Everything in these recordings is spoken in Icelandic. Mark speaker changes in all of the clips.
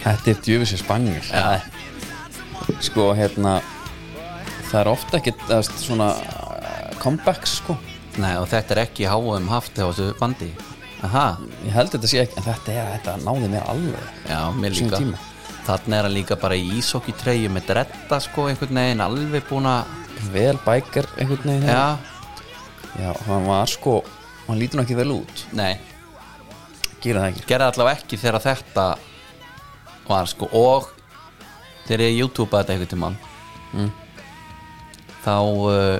Speaker 1: Þetta er djöfisir spanjur
Speaker 2: Já,
Speaker 1: Sko, hérna Það er ofta ekkert það er svona uh, comebacks, sko
Speaker 2: nei, og þetta er ekki háum haft á þessu bandi Aha,
Speaker 1: Ég held þetta sé ekki, en þetta er þetta náði mér alveg
Speaker 2: já, mér
Speaker 1: Sýnum
Speaker 2: líka
Speaker 1: tíma.
Speaker 2: Þannig er hann líka bara í ísokki treyju með dretta sko einhvern veginn alveg búin að
Speaker 1: Vel bækar einhvern veginn hérna.
Speaker 2: Já,
Speaker 1: Já, hann var sko Hann lítur nú ekki vel út
Speaker 2: nei,
Speaker 1: Gera það ekki
Speaker 2: gerði allavega ekki þegar þetta var sko og þegar ég youtubea þetta einhvern tímann Mm. þá uh,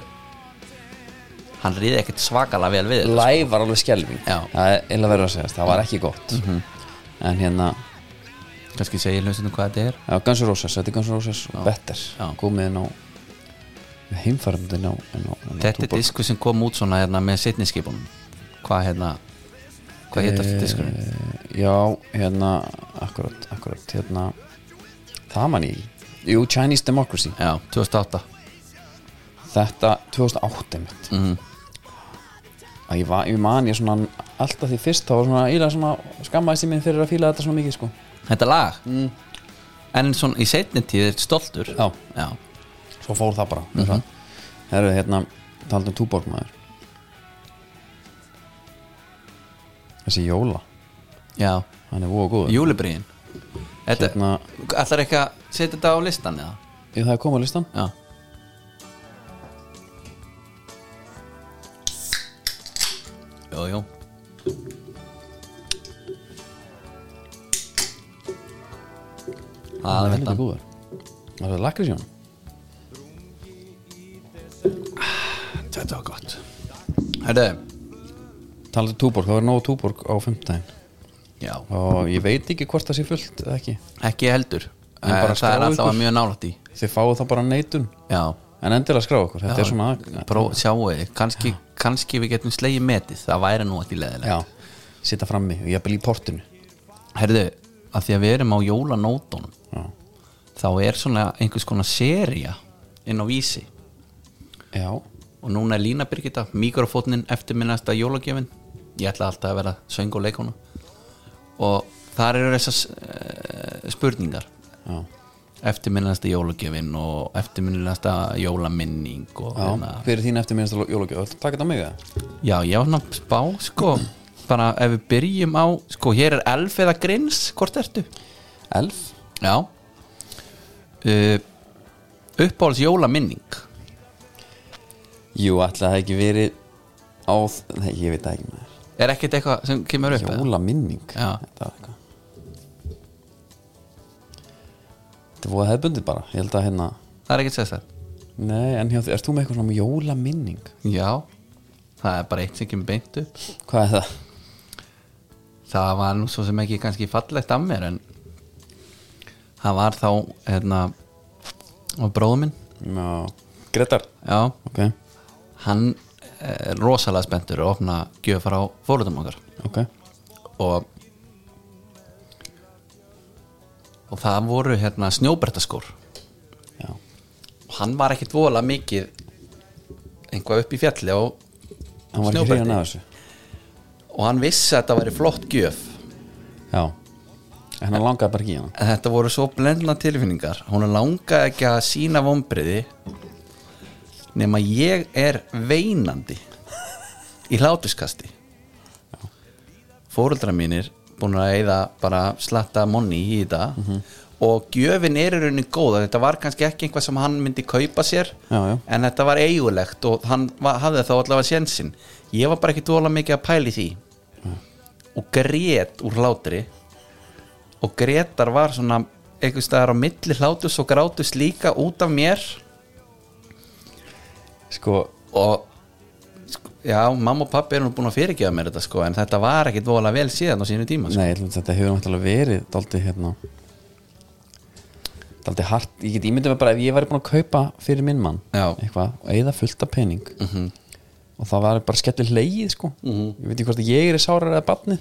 Speaker 2: hann ríði ekkert svakalega vel við þetta,
Speaker 1: Live var alveg skelving
Speaker 2: sko. Já. Mhm.
Speaker 1: Það er illa verið að segja, það var ekki gott En hérna,
Speaker 2: sko. kannski segir hlustinu hvað þetta er
Speaker 1: já, Guns N' Roses Þetta er Guns N' Roses og Better
Speaker 2: Já.
Speaker 1: Komið inn á heimfærandi inn á, inn á, inn á
Speaker 2: þetta er
Speaker 1: Túborg.
Speaker 2: disku sem kom út svona hérna með sitniskipunum hvað hérna hvað hétt þetta diskurinn
Speaker 1: Eh, Já, hérna, akkurat, akkurat Hérna, það man ég ekki. Jú, Chinese Democracy
Speaker 2: já, 2008
Speaker 1: Þetta 2008 mitt
Speaker 2: mm.
Speaker 1: að ég, var, ég man ég svona alltaf því fyrst þá var svona, ég svona skammaðist ég minn fyrir að fíla þetta svona mikið sko
Speaker 2: þetta lag en svona í setni tíð er stoltur
Speaker 1: Mm. Já.
Speaker 2: já,
Speaker 1: svo fór það bara
Speaker 2: Mhm.
Speaker 1: mm -hmm. herru hérna taldum túborg maður þessi jóla
Speaker 2: já.
Speaker 1: hann er voða góður
Speaker 2: júlibriðin þetta,
Speaker 1: hérna,
Speaker 2: ætlar ekki að setja þetta á listan eða?
Speaker 1: ég það er komið á listan
Speaker 2: Já Jú, jú Það
Speaker 1: hann er
Speaker 2: veit
Speaker 1: helviti
Speaker 2: hann
Speaker 1: góður það er lakrísjón
Speaker 2: Þetta var gott Herðu
Speaker 1: taldum um túborg, það var nóg túborg á fimmtæðin
Speaker 2: Já
Speaker 1: og ég veit ekki hvort það sé fullt eða ekki
Speaker 2: Ekki heldur
Speaker 1: En
Speaker 2: Eh,
Speaker 1: bara
Speaker 2: Það er
Speaker 1: skráðu
Speaker 2: alltaf
Speaker 1: ykkur.
Speaker 2: mjög nálætt í
Speaker 1: þið fáið það bara neitun
Speaker 2: Já
Speaker 1: en endilega skrá okkur, þetta
Speaker 2: Já,
Speaker 1: er svona
Speaker 2: Pró, Sjáu þið kannski, kannski við getum slegið metið Það væri nú ekki leðilega
Speaker 1: já, sita frammi og ég bel í portinu
Speaker 2: Herðu, að því að við erum á jólanótonum
Speaker 1: já,
Speaker 2: þá er svona einhvers konar seria inn á vísi
Speaker 1: já.
Speaker 2: og núna er Lína Birgitta, mikrofótnin eftir minnasta jólagjöfin ég ætla alltaf að vera söng og leikona og þar eru þessas uh, spurningar
Speaker 1: já.
Speaker 2: eftir minnasta jólagjöfin og eftir minnasta jólaminning og hérna.
Speaker 1: já. hver er þín eftir minnst jólagjöf, Ætlarðu að taka þetta á mig eða?
Speaker 2: já, já, ná, spá sko bara ef við byrjum á sko, hér er elf eða grins, hvort ertu?
Speaker 1: elf
Speaker 2: já uh, uppáhalds jólaminning
Speaker 1: Jú, ætli að það ekki verið á, nei, ég veit það ekki maður
Speaker 2: er ekkert eitthvað sem kemur upp eða?
Speaker 1: Jóla minning
Speaker 2: Já.
Speaker 1: Þetta var eitthvað Þetta er voða hefðbundið bara Ég held að hérna
Speaker 2: það er ekkert sérstaklega
Speaker 1: Nei, en hjá, þér- ert þú með eitthvað svona um jóla minning?
Speaker 2: Já, það er bara eitt sem kemur beint upp
Speaker 1: Hvað er það?
Speaker 2: Það var nú svo sem ekki kannski fallegt af mér en það var þá hérna og bróður minn
Speaker 1: Já. Gretar
Speaker 2: já,
Speaker 1: Ok,
Speaker 2: hann er rosalega spenntur að opna gjöf frá fóruðum okkar
Speaker 1: ok
Speaker 2: og og það voru hérna snjóbrettaskór
Speaker 1: Já,
Speaker 2: og hann var ekkit vola mikið einhvað upp í fjalli og,
Speaker 1: hann var ekki
Speaker 2: Snjóbretti.
Speaker 1: hrifin af þessu
Speaker 2: og hann vissi að þetta væri flott gjöf
Speaker 1: Já En hann langaði bara ekki í hana
Speaker 2: En þetta voru svo blendna tilfinningar hún langaði ekki að sína vombriði nema ég er veinandi í hlátuskasti fóruldra mínir búin að eyða bara slatta monni í þetta og gjöfin er í rauninni góð þetta var kannski ekki einhvað sem hann myndi kaupa sér
Speaker 1: Já, já.
Speaker 2: en þetta var eigulegt og hann var, hafði þá allavega sjensin ég var bara ekki dóla mikið að pæli því og grét úr hlátri og Gretar var svona einhvers staðar á milli hlátus og grátus líka út af mér
Speaker 1: Sko,
Speaker 2: og sko, já, mamma og pappi eru nú búin að fyrirgefa mér þetta sko en þetta var ekkit vola vel síðan á sínu tíma sko.
Speaker 1: Nei, ég ætlum að þetta hefur náttúrulega verið daldið hérna daldið hart, ég get ímyndið mig bara ef ég væri búin að kaupa fyrir minn mann
Speaker 2: Já.
Speaker 1: eitthvað, og eigða fullt af pening -hmm. og það var bara skellir leið sko. -hmm. ég veit ekki hvort að ég er í sárar eða barnið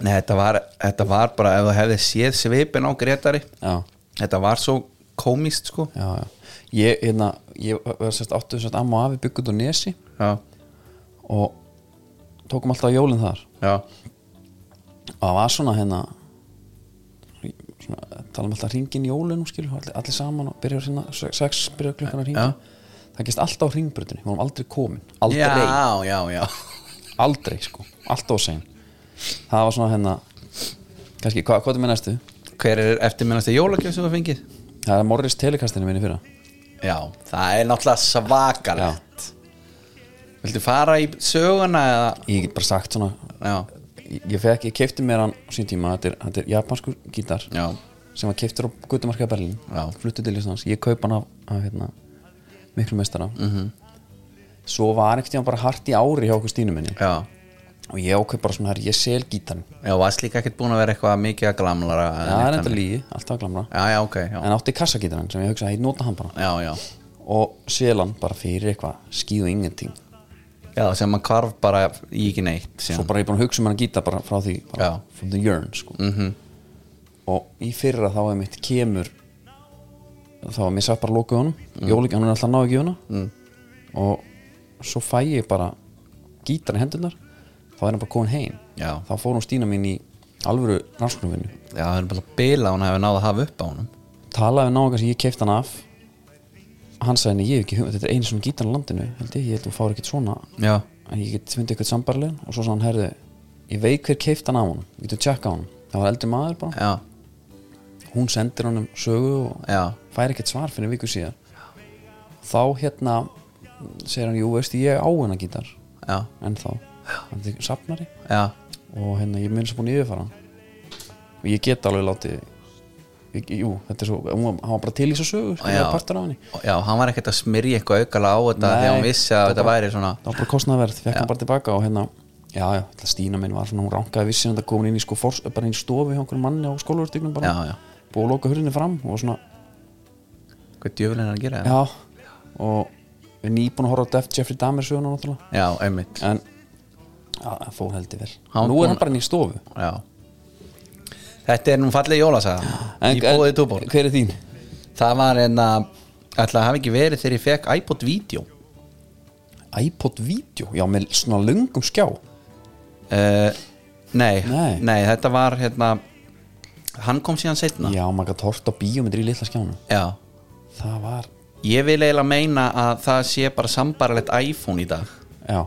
Speaker 2: Nei, þetta var, þetta var bara ef það hefði séð svipin á Gretari
Speaker 1: Já,
Speaker 2: þetta var svo komist sko
Speaker 1: já, já ég, hérna, ég var sérst áttu sérst amma og afi byggut og nesi
Speaker 2: já,
Speaker 1: og tókum alltaf jólin þar
Speaker 2: já,
Speaker 1: og það var svona hérna svona, tala um alltaf hringin í jólunum skilur allir, allir saman og byrjar sinna sex byrjar klukkan að ringa
Speaker 2: Já.
Speaker 1: það gist alltaf á hringbrutinu, við vorum aldrei komin aldrei,
Speaker 2: Já, já, já
Speaker 1: aldrei sko, alltaf á sein það var svona hérna kannski, hvað hva er með næstu?
Speaker 2: Hver er eftirminnast í jólagjöf sem þú hafði fengið?
Speaker 1: það er Morris telekastinu minni fyrra
Speaker 2: Já, það er náttúrulega svakalegt Viltu fara í söguna eða?
Speaker 1: ég get bara sagt svona
Speaker 2: Já,
Speaker 1: ég, ég fekk, ég kefti mér hann á sín tíma þetta er, þetta er japansku gítar
Speaker 2: já,
Speaker 1: sem var keiftur á Gutumarkaða Berlín
Speaker 2: Já.
Speaker 1: fluttu til Íslands, ég kaup hann af, af hérna, miklu meistara
Speaker 2: Mhm.
Speaker 1: -hmm. svo var ekkert ég bara hart í ári hjá okkur stínu minni
Speaker 2: já
Speaker 1: og ég ákveð bara svona, herri, ég sel gítarn
Speaker 2: Já, varst líka ekkert búin að vera eitthvað mikið að glamlara eða
Speaker 1: það er
Speaker 2: neitt
Speaker 1: enda
Speaker 2: þannig?
Speaker 1: lígi, alltaf glamra
Speaker 2: Já, já, ok, já,
Speaker 1: en átti kassagítarn sem ég hugsaði að ég nota hann bara
Speaker 2: já, já
Speaker 1: og sel hann bara fyrir eitthvað skýðu ingenting,
Speaker 2: Já, sem mann kvarf bara í ekki neitt
Speaker 1: svo
Speaker 2: síðan.
Speaker 1: bara ég búin að hugsa um hann gítar bara frá því,
Speaker 2: Já.
Speaker 1: bara from the yearn sko.
Speaker 2: Mhm.
Speaker 1: og í fyrra þá er mitt kemur þá var mér satt bara lókuð honum mm. jólíkja, hann er alltaf náðu ekki hana mm. og svo fæ ég bara gítar í hendunar þá er hann bara komin heim
Speaker 2: Já,
Speaker 1: þá fór hún Stína mín í alvöru rannsóknumvinnu
Speaker 2: já, það er bara bila hún hefur náð að hafa upp á honum
Speaker 1: talaði við náðungar sem ég keift hann af hann sagði henni, ég hef ekki hugmynd þetta er einu svona gítar á landinu, held ég, ég held þú fáir ekkert svona
Speaker 2: Já,
Speaker 1: en ég get fundið eitthvað sambarlegan og svo sagði hann, herði, ég veit hver keift hann af honum ég getur tjekka hann, það var eldri maður bara
Speaker 2: já,
Speaker 1: hún sendir honum sögu og
Speaker 2: já,
Speaker 1: fær ekkert svar fyrir viku síðan þá hérna segir hann, jú veist ég á hennar gítar
Speaker 2: já,
Speaker 1: en þá, hann er safnari
Speaker 2: já
Speaker 1: og hérna ég mun sem búin yfirfara hann. og ég get alveg látið ég, jú, þetta er svo, hún var, hann var bara til í þessu sögu sko,
Speaker 2: Já.
Speaker 1: ég var partur af henni
Speaker 2: Já, hann var ekkert að smyrja eitthvað aukala á þetta
Speaker 1: Nei,
Speaker 2: þegar hann vissi að
Speaker 1: það
Speaker 2: þetta
Speaker 1: bara-
Speaker 2: væri svona
Speaker 1: það var bara kostnaverð, fekk hann bara tilbaka og hérna já, já, ætla, Stína minn var svona, hún rankaði vissin þetta komin inn í sko, fors, bara inn í stofu hjá einhverjum manni á skólavertíknum bara,
Speaker 2: Já, já,
Speaker 1: búið að loka hurðinni fram og var svona,
Speaker 2: hvað djöfulinn er hann að gera það?
Speaker 1: já og við erum nýbúin að horfa á Def- Jeffrey Dahmer söguna náttúrulega
Speaker 2: Já, einmitt
Speaker 1: en já, það fór heldur vel
Speaker 2: Hann
Speaker 1: nú
Speaker 2: kom-
Speaker 1: er hann bara inn í stofu
Speaker 2: Já Þetta er nú fallið jólasaga
Speaker 1: en,
Speaker 2: Í bóðið túból
Speaker 1: hver er þín?
Speaker 2: Það var en að Ætla að hafa ekki verið þegar ég fekk iPod Video
Speaker 1: iPod Video, já með svona löngum skjá
Speaker 2: uh, nei,
Speaker 1: Nei.
Speaker 2: þetta var hérna Hann kom síðan setna
Speaker 1: já, maður gætt hort á bíómyndri í litla skjánu
Speaker 2: Já.
Speaker 1: það var,
Speaker 2: Ég vil eiginlega meina að það sé bara sambarlegt iPhone í dag
Speaker 1: já,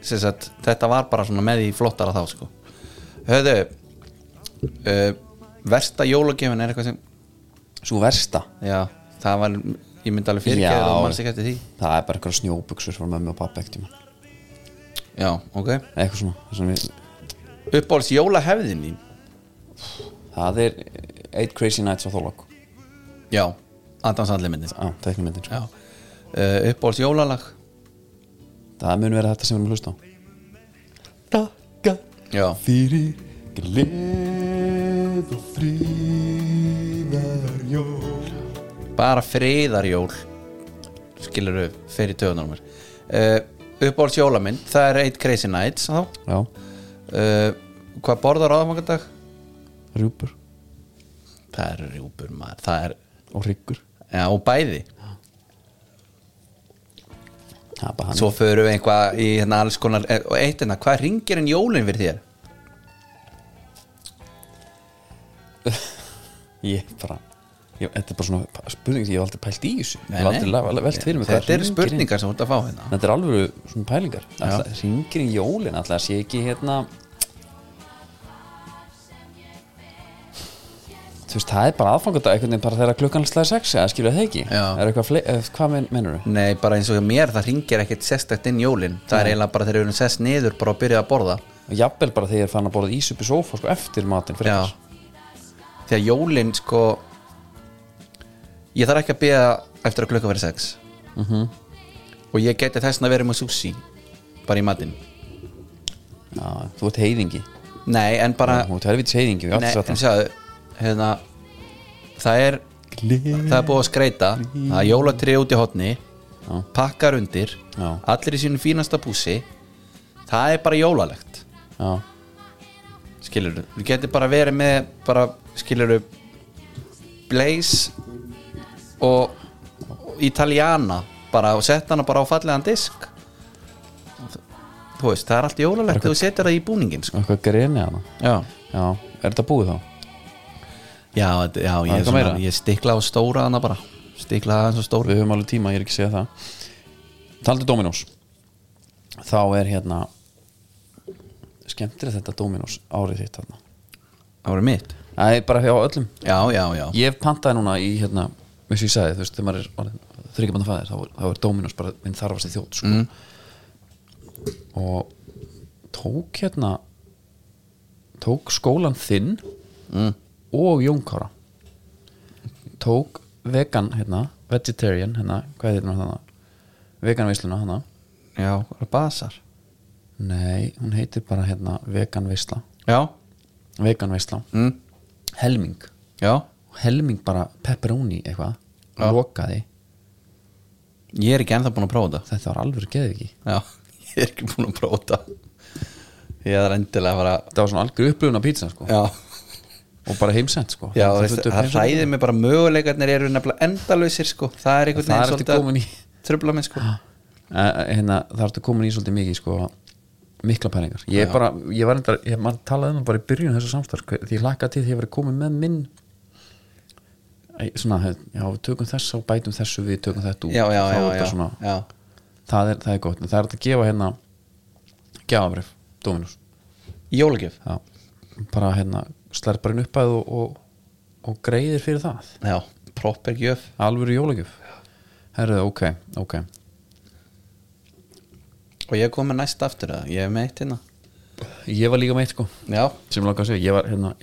Speaker 2: Sess að þetta var bara svona með í flottara þá sko Höðu uh, Versta jólagjöfin er eitthvað sem
Speaker 1: svo versta
Speaker 2: Já, það var Ég myndi
Speaker 1: Já.
Speaker 2: alveg fyrirgeða og mannst ekki eftir því
Speaker 1: það er bara einhverja snjóbuksur frá mömmu og pappa ekkert tíma
Speaker 2: Já, ok
Speaker 1: eitthvað svona, það, sem við,
Speaker 2: Uppáhalds jólahefðin þín
Speaker 1: það er Eight Crazy Nights á Þólag
Speaker 2: Já, Adam Sandler
Speaker 1: á
Speaker 2: myndin
Speaker 1: sko. teknumyndin,
Speaker 2: Já uh, Uppáhalds jólalag
Speaker 1: það mun vera þetta sem við erum að hlusta á
Speaker 2: Takka Já,
Speaker 1: fyrir gleð og fríðar jól
Speaker 2: bara friðarjól Skilur þau fyrir töðunar mér uh, Uppáhalds jólamynd Það er eitt Crazy Nights þá
Speaker 1: já,
Speaker 2: uh, Hvað borðar á aðfangadag?
Speaker 1: rjúpur
Speaker 2: Það er rjúpur maður Það er,
Speaker 1: og hryggur
Speaker 2: já, og bæði
Speaker 1: það er bara hann
Speaker 2: Svo förum við einhvað í hérna alls konar eh, Og eitt hérna, hvað ringir en jólin fyrir þér?
Speaker 1: Ég bara ég, Þetta er bara svona spurning sem ég hef aldrei pælt í þessu Ég
Speaker 2: Nei,
Speaker 1: hef aldrei
Speaker 2: nei.
Speaker 1: la- la- velt fyrir mig hvað
Speaker 2: Þetta eru
Speaker 1: hringir inn.
Speaker 2: spurningar sem þú ert að fá hérna
Speaker 1: Þetta er alveg svona pælingar Alltaf Ringir í jólin, alltaf að sé ekki hérna Þú veist, það er bara aðfangandag einhvern veginn bara þegar klukkan slæði sex eða skilja það ekki
Speaker 2: Já.
Speaker 1: Er eitthvað fle- eh, Hvað men, menur þú?
Speaker 2: Nei, bara eins og mér, það ringir ekkert sérstakt inn jólin Það er eiginlega bara þegar við erum sest niður bara að byrja að borða
Speaker 1: Jafnvel bara þegar ég er fann að borða ís upp í sófa sko, eftir matinn
Speaker 2: Já
Speaker 1: frekar.
Speaker 2: Þegar jólin, sko Ég þarf ekki að byrja eftir að klukka verið sex -hmm. Og ég geti þessna að vera með sushi Bara í matinn
Speaker 1: Já, Þú ert heiðingi
Speaker 2: Nei, en bara
Speaker 1: Þú ert helvitis heiðingi
Speaker 2: Nei, en sjáðu hérna, Það er
Speaker 1: Gleð
Speaker 2: Það er búið að skreita Það er jólatrið út í hotni
Speaker 1: Já.
Speaker 2: Pakkar undir
Speaker 1: Já.
Speaker 2: Allir í sínu fínasta búsi Það er bara jólalegt
Speaker 1: Já,
Speaker 2: skilur þú getur bara verið með bara skilur blaze og, og italiana bara og sett hana bara á fallegan disk þú veist, það er allt jólalegt þegar þú setur það í búningin sko.
Speaker 1: eitthvað greni hana
Speaker 2: já,
Speaker 1: Já, er þetta búið þá?
Speaker 2: já, þetta- já ég,
Speaker 1: eitthvað
Speaker 2: er svona,
Speaker 1: meira?
Speaker 2: ég stikla á stóra hana bara stikla aðeins á stóra
Speaker 1: Við höfum alveg tíma, ég er ekki að segja það Taldi Dominos Þá er hérna Skemmtir þetta Dominos árið þitt þarna
Speaker 2: það var mitt
Speaker 1: Æ, bara hjá öllum
Speaker 2: já, já, já,
Speaker 1: Ég hef pantaði núna í hérna eins og ég sagði, þú veist, þegar maður er þryggjabandafæðir, þá, er- þá er Dominos bara minn þarfasti þjótt sko. og tók hérna tók skólan þinn
Speaker 2: Mm.
Speaker 1: og Jónkára tók vegan hérna, vegetarian hérna, hvað heitir hún hérna veganveisluna hérna
Speaker 2: já, það er basar
Speaker 1: nei, hún heitir bara hérna veganveisla
Speaker 2: já,
Speaker 1: veganveisla,
Speaker 2: mm.
Speaker 1: helming
Speaker 2: já
Speaker 1: helming bara pepperoni eitthvað,
Speaker 2: Já.
Speaker 1: lokaði
Speaker 2: ég er ekki ennþá búin að prófa þetta
Speaker 1: þetta var alveg geðviki
Speaker 2: já, ég er ekki búin að prófa þetta ég er endilega að fara
Speaker 1: þetta var svona algjör upplifun af pizza sko.
Speaker 2: já,
Speaker 1: og bara heimsend sko.
Speaker 2: já
Speaker 1: Þetta
Speaker 2: veist,
Speaker 1: þetta
Speaker 2: það
Speaker 1: heimsend.
Speaker 2: ræðir mig bara möguleikarnir eru nefnilega endalausir sko, það er einhvern
Speaker 1: það er
Speaker 2: veginn
Speaker 1: eftir komin í
Speaker 2: trubla minn sko
Speaker 1: Eh, hérna, það er eftir komin í svolítið mikið sko, mikla pælingar ég, er
Speaker 2: Já.
Speaker 1: bara, ég var enda, ég maður talaði um það bara í byrjun þessu samstarf, hve- því ég laka til því ég var komin með minn Æ, svona, hef- já, við tökum þess og bætum þessu við tökum þetta út
Speaker 2: já,
Speaker 1: Þá
Speaker 2: já, já,
Speaker 1: er þetta
Speaker 2: já,
Speaker 1: svona,
Speaker 2: já.
Speaker 1: það, er, það er gott, En það er þetta að gefa hérna gjafabrif, Dominus
Speaker 2: jólagjöf
Speaker 1: já. bara hérna, slær bara inn uppæð og, og, og greiðir fyrir það
Speaker 2: já, proper gjöf
Speaker 1: Alvöru jólagjöf Herðu, ok, ok
Speaker 2: og ég kom með næst aftur að ég er með eitt hérna
Speaker 1: Ég var líka meitt sko
Speaker 2: já,
Speaker 1: sem langar að segja, ég var hérna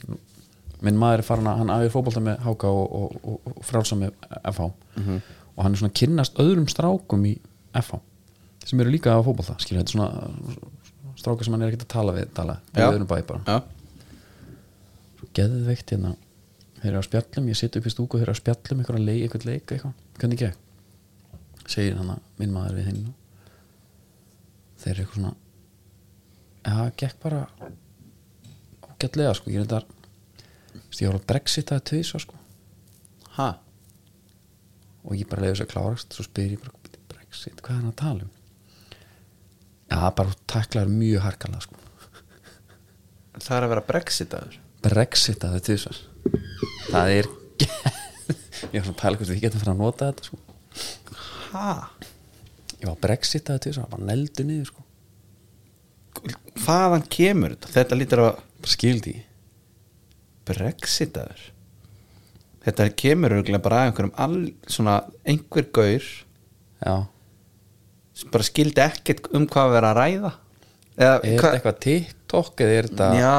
Speaker 1: minn maður er farin að hann æfir fótbolta með HK og, og, og, og frálsa með FH og hann er svona að kynnast öðrum strákum í FH sem eru líka að fótbolta, skilja þetta er svona stráka sem hann er ekkert að tala við tala,
Speaker 2: Já.
Speaker 1: við öðrum bæ bara
Speaker 2: já,
Speaker 1: geðveikt hérna, þeir eru að spjallum ég siti upp í stúku, þeir eru að spjallum einhverja leik, einhvern leik, eitthvað, hvernig gekk segir hann að minn maður við hinn þeir eru eitthvað svona ja, það gekk bara ágætlega sko, ég er þetta ég var að brexit að tvís sko,
Speaker 2: ha
Speaker 1: og ég bara leiði þess að klárast svo spyr ég bara, "Bíddu, brexit, hvað er hann að tala um ja, bara þú taklar mjög harkalega sko
Speaker 2: það er að vera brexitaður
Speaker 1: brexit að þetta tvisvar það er ég var svona að pæla hvort við getum fyrir að nota þetta sko.
Speaker 2: ha,
Speaker 1: ég var brexit að þetta tvisvar, bara neldu niður sko.
Speaker 2: hvaðan kemur þetta þetta lítur að
Speaker 1: bara skildi ég
Speaker 2: brexitaður þetta kemur örgulega bara að einhverjum all, svona einhver gaur
Speaker 1: já,
Speaker 2: sem bara skildi ekkert um hvað að vera að ræða eða
Speaker 1: er þetta eitthvað TikTok eða er þetta
Speaker 2: já,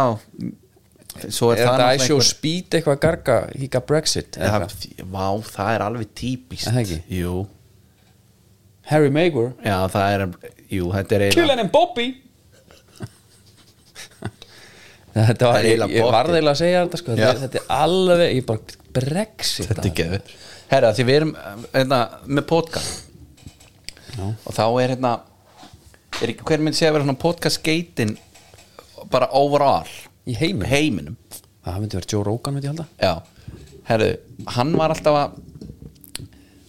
Speaker 2: svo
Speaker 1: er
Speaker 2: er, það
Speaker 1: þetta
Speaker 2: náttúrulega
Speaker 1: I show speed eitthvað að garga híka brexit eða
Speaker 2: það,
Speaker 1: eitthvað?
Speaker 2: vá, það er alveg típist
Speaker 1: Er það ekki?
Speaker 2: jú,
Speaker 1: Harry Maguire
Speaker 2: já, það er jú, þetta er eiginlega
Speaker 1: Kylian and Bobby þetta
Speaker 2: Það
Speaker 1: var,
Speaker 2: er
Speaker 1: ég,
Speaker 2: eiginlega
Speaker 1: ég
Speaker 2: pottið.
Speaker 1: varði eiginlega að segja þetta sko.
Speaker 2: Já.
Speaker 1: þetta, þetta er alveg, ég bara brexit
Speaker 2: þetta er geður herra því við erum hérna, með podcast
Speaker 1: Já.
Speaker 2: og þá er hérna er ekki hver minn sé að vera svona podcast geitin bara overall
Speaker 1: í heiminum
Speaker 2: heiminum
Speaker 1: það myndi vera Joe Rogan myndi ég halda
Speaker 2: já, herru, hann var alltaf að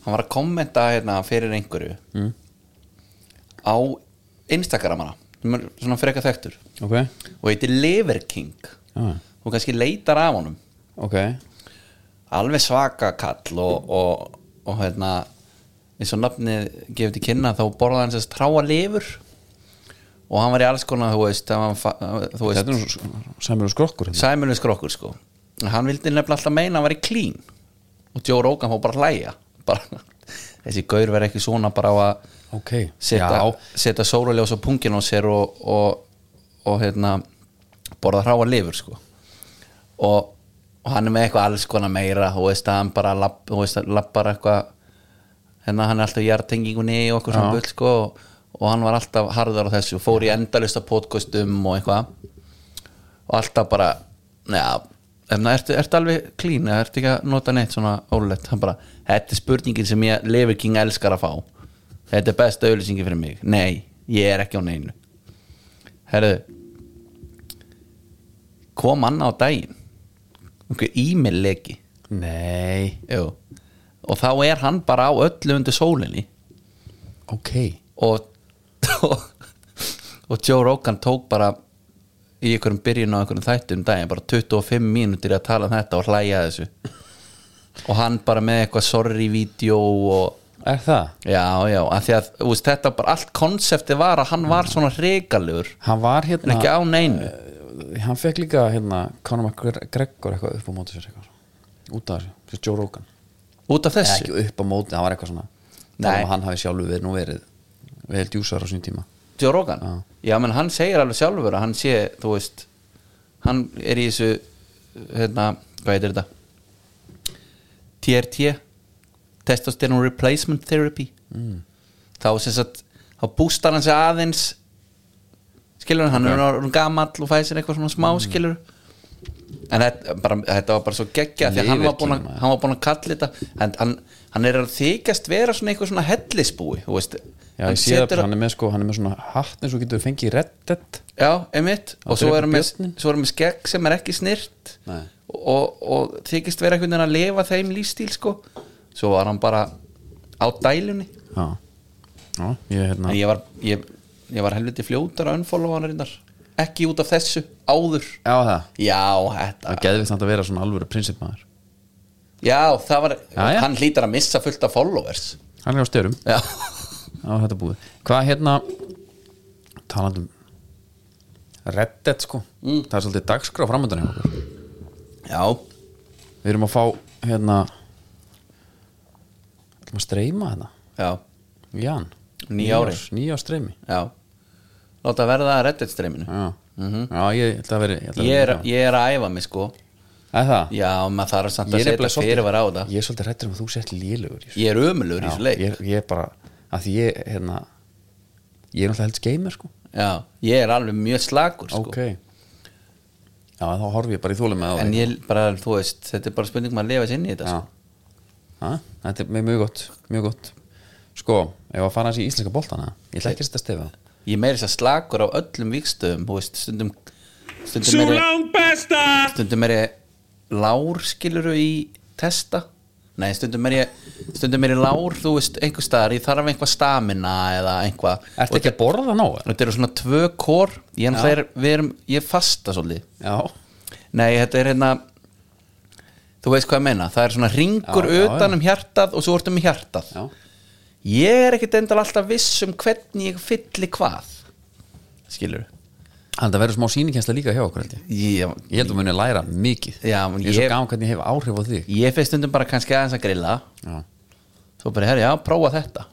Speaker 2: hann var að kommenta hérna fyrir einhverju mm. á Instagramana sem er svona freka þekktur
Speaker 1: ok,
Speaker 2: og heitir Lever King
Speaker 1: já,
Speaker 2: og kannski leitar af honum
Speaker 1: ok
Speaker 2: alveg svaka kall og, og, og hérna eins og nafnið gefur til kynna þá borðaði hann sérst tráa lifur og hann var í alls konar þú veist, hann, fa- þú
Speaker 1: Þetta
Speaker 2: veist
Speaker 1: er nú samur og skrokkur hérna.
Speaker 2: sæmjölu skrokkur sko En hann vildi nefnilega alltaf meina að hann var í klín og Joe Rogan fór bara að hlæja bara, þessi gaur verið ekki svona bara á að
Speaker 1: Ok,
Speaker 2: setja, setja sóluljós á pungin á sér og, og, og hérna, borða hráa lifur sko. og, og hann er með eitthvað alls konar meira þú veist að hann bara lapp, þú veist, að lappar eitthvað hérna hann er alltaf í jartengingunni og eitthvað svona bull sko, og, og hann var alltaf harðar á þessu og fór í endalista podcastum og eitthvað og alltaf bara neða Efna, ertu, ertu alveg klín eða ertu ekki að nota neitt svona ólegt hann bara, þetta er spurningin sem ég lifir king elskar að fá þetta er besta auðlýsingi fyrir mig nei, ég er ekki á neinu herðu kom hann á daginn einhver e-mail leki
Speaker 1: Nei,
Speaker 2: Jú. og þá er hann bara á öllu undir sólinni
Speaker 1: ok
Speaker 2: og og, og Joe Rogan tók bara í einhverjum byrjun á einhverjum þættum um daginn bara 25 mínútur í að tala um þetta og hlæja að þessu og hann bara með eitthvað sorry-vídeó og
Speaker 1: Er það?
Speaker 2: já, já, að því að þú veist, þetta bara allt konsepti var að hann var svona regalur
Speaker 1: Hann var
Speaker 2: en
Speaker 1: hérna
Speaker 2: ekki á neinu
Speaker 1: Eh, Hann fekk líka hérna Conor McGregor eitthvað upp á móti sér eitthvað. Út af þessu, fyrir Joe Rogan
Speaker 2: út af
Speaker 1: Eða
Speaker 2: þessu
Speaker 1: ekki upp á móti, það var eitthvað svona
Speaker 2: Nei.
Speaker 1: Þannig að hann hafi sjálfur verið nú verið Vel djúsar á sinni tíma
Speaker 2: Joe Rogan já. menn hann segir alveg sjálfur að hann sé þú veist, hann er í þessu hérna, hvað heitir þetta TRT Testosterone Replacement Therapy mm. þá sem sagt þá bústar hann sig aðeins skilur hann, hann er orðinn gamall og fæði sér eitthvað svona smá
Speaker 1: Mm.
Speaker 2: skilur en þetta, bara, þetta var bara svo geggja því að hann var búinn að-
Speaker 1: Lifirtíma.
Speaker 2: hann var búin að kalla þetta en hann, hann er að þykjast vera svona eitthvað svona hellisbúi þú veist.
Speaker 1: Já, ég sé það, hann er með sko, hann er með svona hatt eins og getur fengið í reddet
Speaker 2: Já, einmitt og svo
Speaker 1: drepa
Speaker 2: erum við,
Speaker 1: björninn.
Speaker 2: svo erum við skegg sem er ekki snirt
Speaker 1: Nei.
Speaker 2: og, og þykist vera einhvern veginn að lifa þeim lífstíl sko svo var hann bara á dælunni
Speaker 1: Já, Já ég er hérna
Speaker 2: en ég var, ég, ég var helviti fljótar að unfollowa hann reyndar ekki út af þessu, áður
Speaker 1: Já, það,
Speaker 2: Já, þetta
Speaker 1: það geðvitt þetta að vera svona alvöru prinsipmaður
Speaker 2: Já, það var,
Speaker 1: Já, já.
Speaker 2: hann hlýtar að missa fullt af followers
Speaker 1: Hann er á styrum
Speaker 2: Já,
Speaker 1: á þetta búið hvað hérna talandum reddet sko
Speaker 2: Mm.
Speaker 1: það er svolítið dagskrá framöndan hjá okkur
Speaker 2: já,
Speaker 1: við erum að fá hérna ætlum að streyma hérna
Speaker 2: já,
Speaker 1: Jan
Speaker 2: Nýja ári.
Speaker 1: nýja streymi
Speaker 2: já. Láta verða að reddit streyminu
Speaker 1: já. já ég ætla að vera ég, ætla að
Speaker 2: Mhm. ég, er-
Speaker 1: vera-
Speaker 2: ég er að æfa mig sko
Speaker 1: Er það
Speaker 2: Já, maður þarf samt
Speaker 1: Ég er
Speaker 2: að
Speaker 1: nefnilega
Speaker 2: setja
Speaker 1: svolítið-
Speaker 2: fyrirvara á það
Speaker 1: ég er svolítið hrættur um að þú sett lélugur
Speaker 2: ég er ömulur í
Speaker 1: já,
Speaker 2: þessu leik
Speaker 1: ég, ég er bara að því ég hérna ég er náttúrulega helst gamer sko,
Speaker 2: já, ég er alveg mjög slagur sko.
Speaker 1: ok já þá horfi ég bara í þólum með
Speaker 2: en ég bara, þú veist, þetta er bara spurning um að lifa sér inn í þetta
Speaker 1: Já.
Speaker 2: sko.
Speaker 1: Ha, Þetta er mjög gott, mjög gott Sko, ef að fara hans í íslenska boltana Ég ætla ekki að setja stefið
Speaker 2: ég er meira þess að slagur á öllum vikstöðum þú veist, stundum stundum er ég,
Speaker 3: Sulão Pesta!
Speaker 2: stundum er ég lár skiluru í testa nei, stundum er ég, stundum er ég lár þú veist, einhver staðar, ég þarf einhvað stamina eða einhvað
Speaker 1: Ertu ekki að borða nóg? eða?
Speaker 2: þetta eru svona tvö kór ég, náttúrulega er, við erum, ég fasta svolítið
Speaker 1: Já,
Speaker 2: Nei, þetta er hérna Þú veist hvað ég meina, það er svona ringur
Speaker 1: Já, já,
Speaker 2: utan
Speaker 1: já.
Speaker 2: um hjartað og svo ertu um hjartað
Speaker 1: já
Speaker 2: Ég er ekkit endal alltaf viss um hvernig ég fylli hvað Skilur
Speaker 1: Það verður smá sýnikensla líka hjá okkur held ég
Speaker 2: Ég,
Speaker 1: Ég held að muni læra mikið
Speaker 2: Já,
Speaker 1: Ég
Speaker 2: en
Speaker 1: er svo
Speaker 2: ég-
Speaker 1: gaman hvernig ég hef áhrif á þig
Speaker 2: ég fyrst stundum bara kannski aðeins að grilla
Speaker 1: Já,
Speaker 2: Svo bara, herri, já, prófa þetta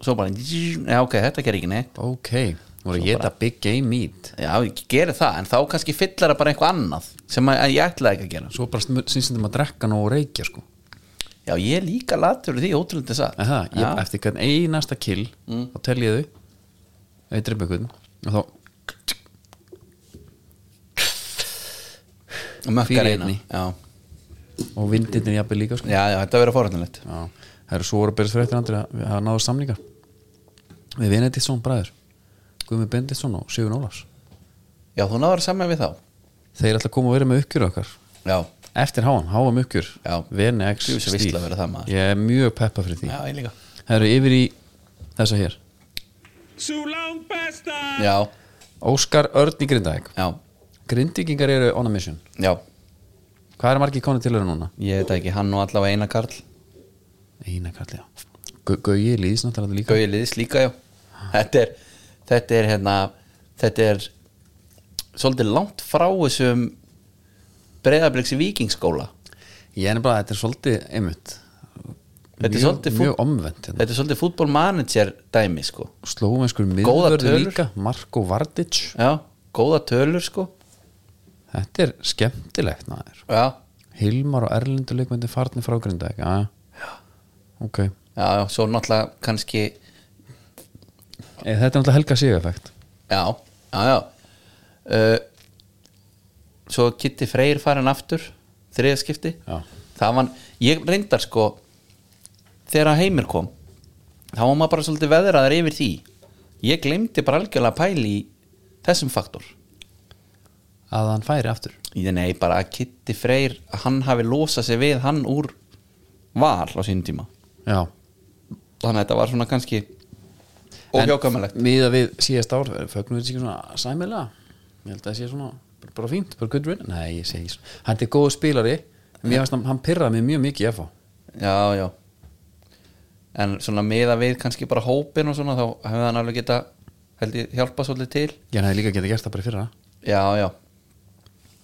Speaker 2: Svo bara, já, ok, þetta gerir ekki neitt
Speaker 1: ok Þú voru að geta big game meat
Speaker 2: Já, ég gerir það, en þá kannski fyllar það bara eitthvað annað sem að, að ég ætlaði ekki að gera
Speaker 1: Svo bara sinnsindum um að drekka nóg og reykja sko
Speaker 2: Já, ég er líka latur í því, ótrúlega satt
Speaker 1: En það, ég,
Speaker 2: já,
Speaker 1: eftir hvern einasta kill þá tel ég þau ef ég drepa einhvern og þá
Speaker 2: og mökkar
Speaker 1: fyrir
Speaker 2: eina
Speaker 1: einni.
Speaker 2: já.
Speaker 1: og vindinni jafnir líka sko
Speaker 2: já, já, þetta verður forhættanlegt
Speaker 1: Já, það eru svo voru að byrja fréttir andri að við hafa náðu samlingar við Benediktsson bræður Guðmi Benediktsson og Sigur Ólafs
Speaker 2: Já, þú náður saman við þá
Speaker 1: þeir ætla að koma og vera með uppgjur okkar
Speaker 2: Já,
Speaker 1: eftir háan, háam uppgjur
Speaker 2: Já.
Speaker 1: VNX
Speaker 2: Djú, þessi
Speaker 1: stíl.
Speaker 2: veisla að vera það, maður.
Speaker 1: ég er mjög peppa fyrir því
Speaker 2: já, ég líka
Speaker 1: það eru yfir í þessa hér
Speaker 3: Sulão Pesta!
Speaker 2: Já,
Speaker 1: Óskar Örn í Grindavík
Speaker 2: já,
Speaker 1: Grindvíkingar eru on a mission
Speaker 2: já,
Speaker 1: hvað er margir konið til eru núna?
Speaker 2: ég veit það ekki hann og allavega eina karl
Speaker 1: Eina kallið Gauji Lýðis náttúrulega líka
Speaker 2: Gauði liðis líka, já Þetta er, þetta er hérna þetta er svolítið langt frá þessum breyðabliksi vikingskóla
Speaker 1: ég er bara þetta er svolítið einmitt
Speaker 2: Þetta er
Speaker 1: mjög,
Speaker 2: svolítið fú-
Speaker 1: mjög omvend hérna.
Speaker 2: Þetta er svolítið fútbolmanager dæmi, sko
Speaker 1: slóvenskur
Speaker 2: Góðar
Speaker 1: miðvörð
Speaker 2: tölur.
Speaker 1: líka Marko Vardic
Speaker 2: Já, góða tölur, sko
Speaker 1: Þetta er skemmtilegt maður
Speaker 2: Já,
Speaker 1: Hilmar og Erlindur leikmyndi farnir frá Grindavík Já, ok
Speaker 2: já, já, svo náttúrulega kannski
Speaker 1: e, Þetta er náttúrulega Helga Sigurfækt
Speaker 2: Já, já, já uh, Svo Kitty Freyr farin aftur þriðaskipti
Speaker 1: Já.
Speaker 2: Það var, ég reyndar sko þegar að heimir kom þá var maður bara svolítið veðraðar yfir því ég glemdi bara algjörlega að pæli í þessum faktor
Speaker 1: Að hann færi aftur
Speaker 2: ég nei, bara að Kitty Freyr að hann hafi losað sig við hann úr val á sínum tíma
Speaker 1: Já
Speaker 2: þannig að þetta var svona kannski
Speaker 1: En
Speaker 2: óhjákvæmulegt
Speaker 1: Miða við síðast ár, fögnum við sér svona sæmilega ég held að það sé svona bara, bara fínt, bara good win nei, ég segi svona, hann er góð spilari mér finnst hann, hann pyrraði mig mjög mikið í FH
Speaker 2: já, já en svona miða við kannski bara hópin og svona þá hefði hann alveg geta held ég hjálpa svolítið til
Speaker 1: ég hann hefði líka getið gert það bara í fyrra
Speaker 2: já, já,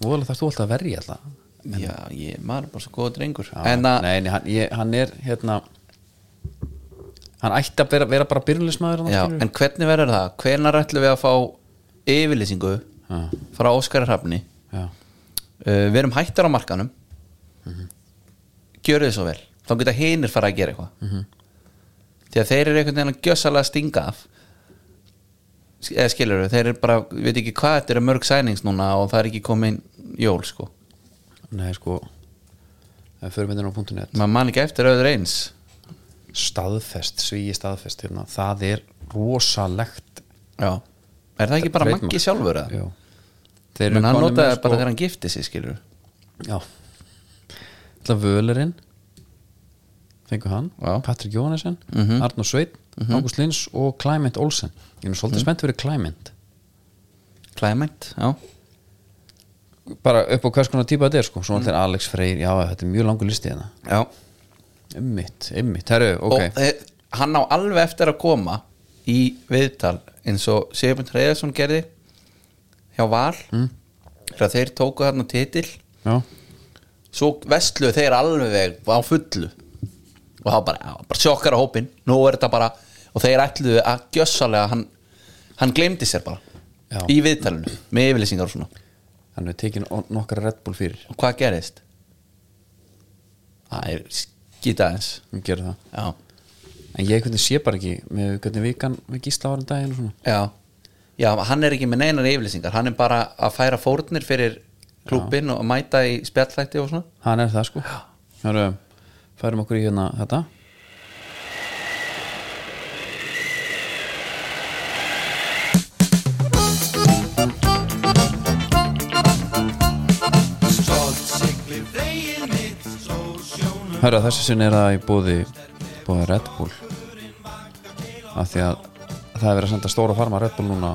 Speaker 1: voðalega þarfst þú alltaf að verja alltaf
Speaker 2: já ég, maður er bara svo góð drengur
Speaker 1: Já,
Speaker 2: en að,
Speaker 1: nei, nei, hann, ég, hann er hérna hann ætti að vera, vera bara byrjulismæður
Speaker 2: já, en hvernig verður það hvenar ætlum við að fá yfirlýsingu
Speaker 1: Já.
Speaker 2: frá Óskari Hrafni
Speaker 1: já,
Speaker 2: uh, við erum hættar á markanum gjöru þið svo vel þá geta hinir fara að gera eitthvað því að þeir eru einhvern veginn að gjössalega stinga af Sk- eða skilur þeir eru bara, við veit ekki hvað þetta eru mörg sænings núna og það er ekki komin jól sko,
Speaker 1: nei sko ef fyrir myndin á punktunni
Speaker 2: maður man ekki eftir öður eins
Speaker 1: staðfest, svíi staðfest hérna, það er rosalegt
Speaker 2: já, er það ekki bara
Speaker 1: Trademark.
Speaker 2: Maggi sjálfur
Speaker 1: Jú.
Speaker 2: að
Speaker 1: þeir
Speaker 2: menn hann
Speaker 1: komnir
Speaker 2: notaði
Speaker 1: með, sko.
Speaker 2: bara þegar hann gifti sig skilur
Speaker 1: já ætla völerinn fengu hann,
Speaker 2: Já. Mhm.
Speaker 1: Patrik Jóhannesson Arnur Sveit, Ágúst Lins og Clement Olsen, ég er nú
Speaker 2: Mhm.
Speaker 1: svolítið spennt fyrir Clement
Speaker 2: klæmænt, já,
Speaker 1: bara upp á hvers konar típa þetta er sko svona
Speaker 2: Mhm.
Speaker 1: allir Alex Freyr, já þetta er mjög langur listi hérna
Speaker 2: já.
Speaker 1: Ymmit, ymmit, herru, ok
Speaker 2: og e, hann á alveg eftir að koma í viðtal eins og Sigurbjörn Hreiðarsson gerði hjá Val mm. þegar þeir tóku þarna titil
Speaker 1: Já,
Speaker 2: svo vestluðu þeir alveg á fullu og það bara, já, bara sjokkar á hópin nú er þetta bara, og þeir ætluðu að gjössalega hann, hann glemdi sér bara
Speaker 1: Já.
Speaker 2: í viðtalinu með yfirlýsingar og svona
Speaker 1: hann er tekin o- nokkra Red Bull fyrir
Speaker 2: og hvað gerðist? það er skita eins
Speaker 1: Hún gerir það
Speaker 2: já,
Speaker 1: En ég hvernig sé bara ekki með hvernig vikan við gísla ára daginn og svona
Speaker 2: Já, já hann er ekki með neinar yfirlýsingar hann er bara að færa fórnir fyrir klúbin og mæta í spjallætti og svona
Speaker 1: Hann er það sko Herru, færum okkur í hérna þetta Herra, þessu sinni er það í búði búði Red Bull af því að það er verið að senda stóra farma Red Bull núna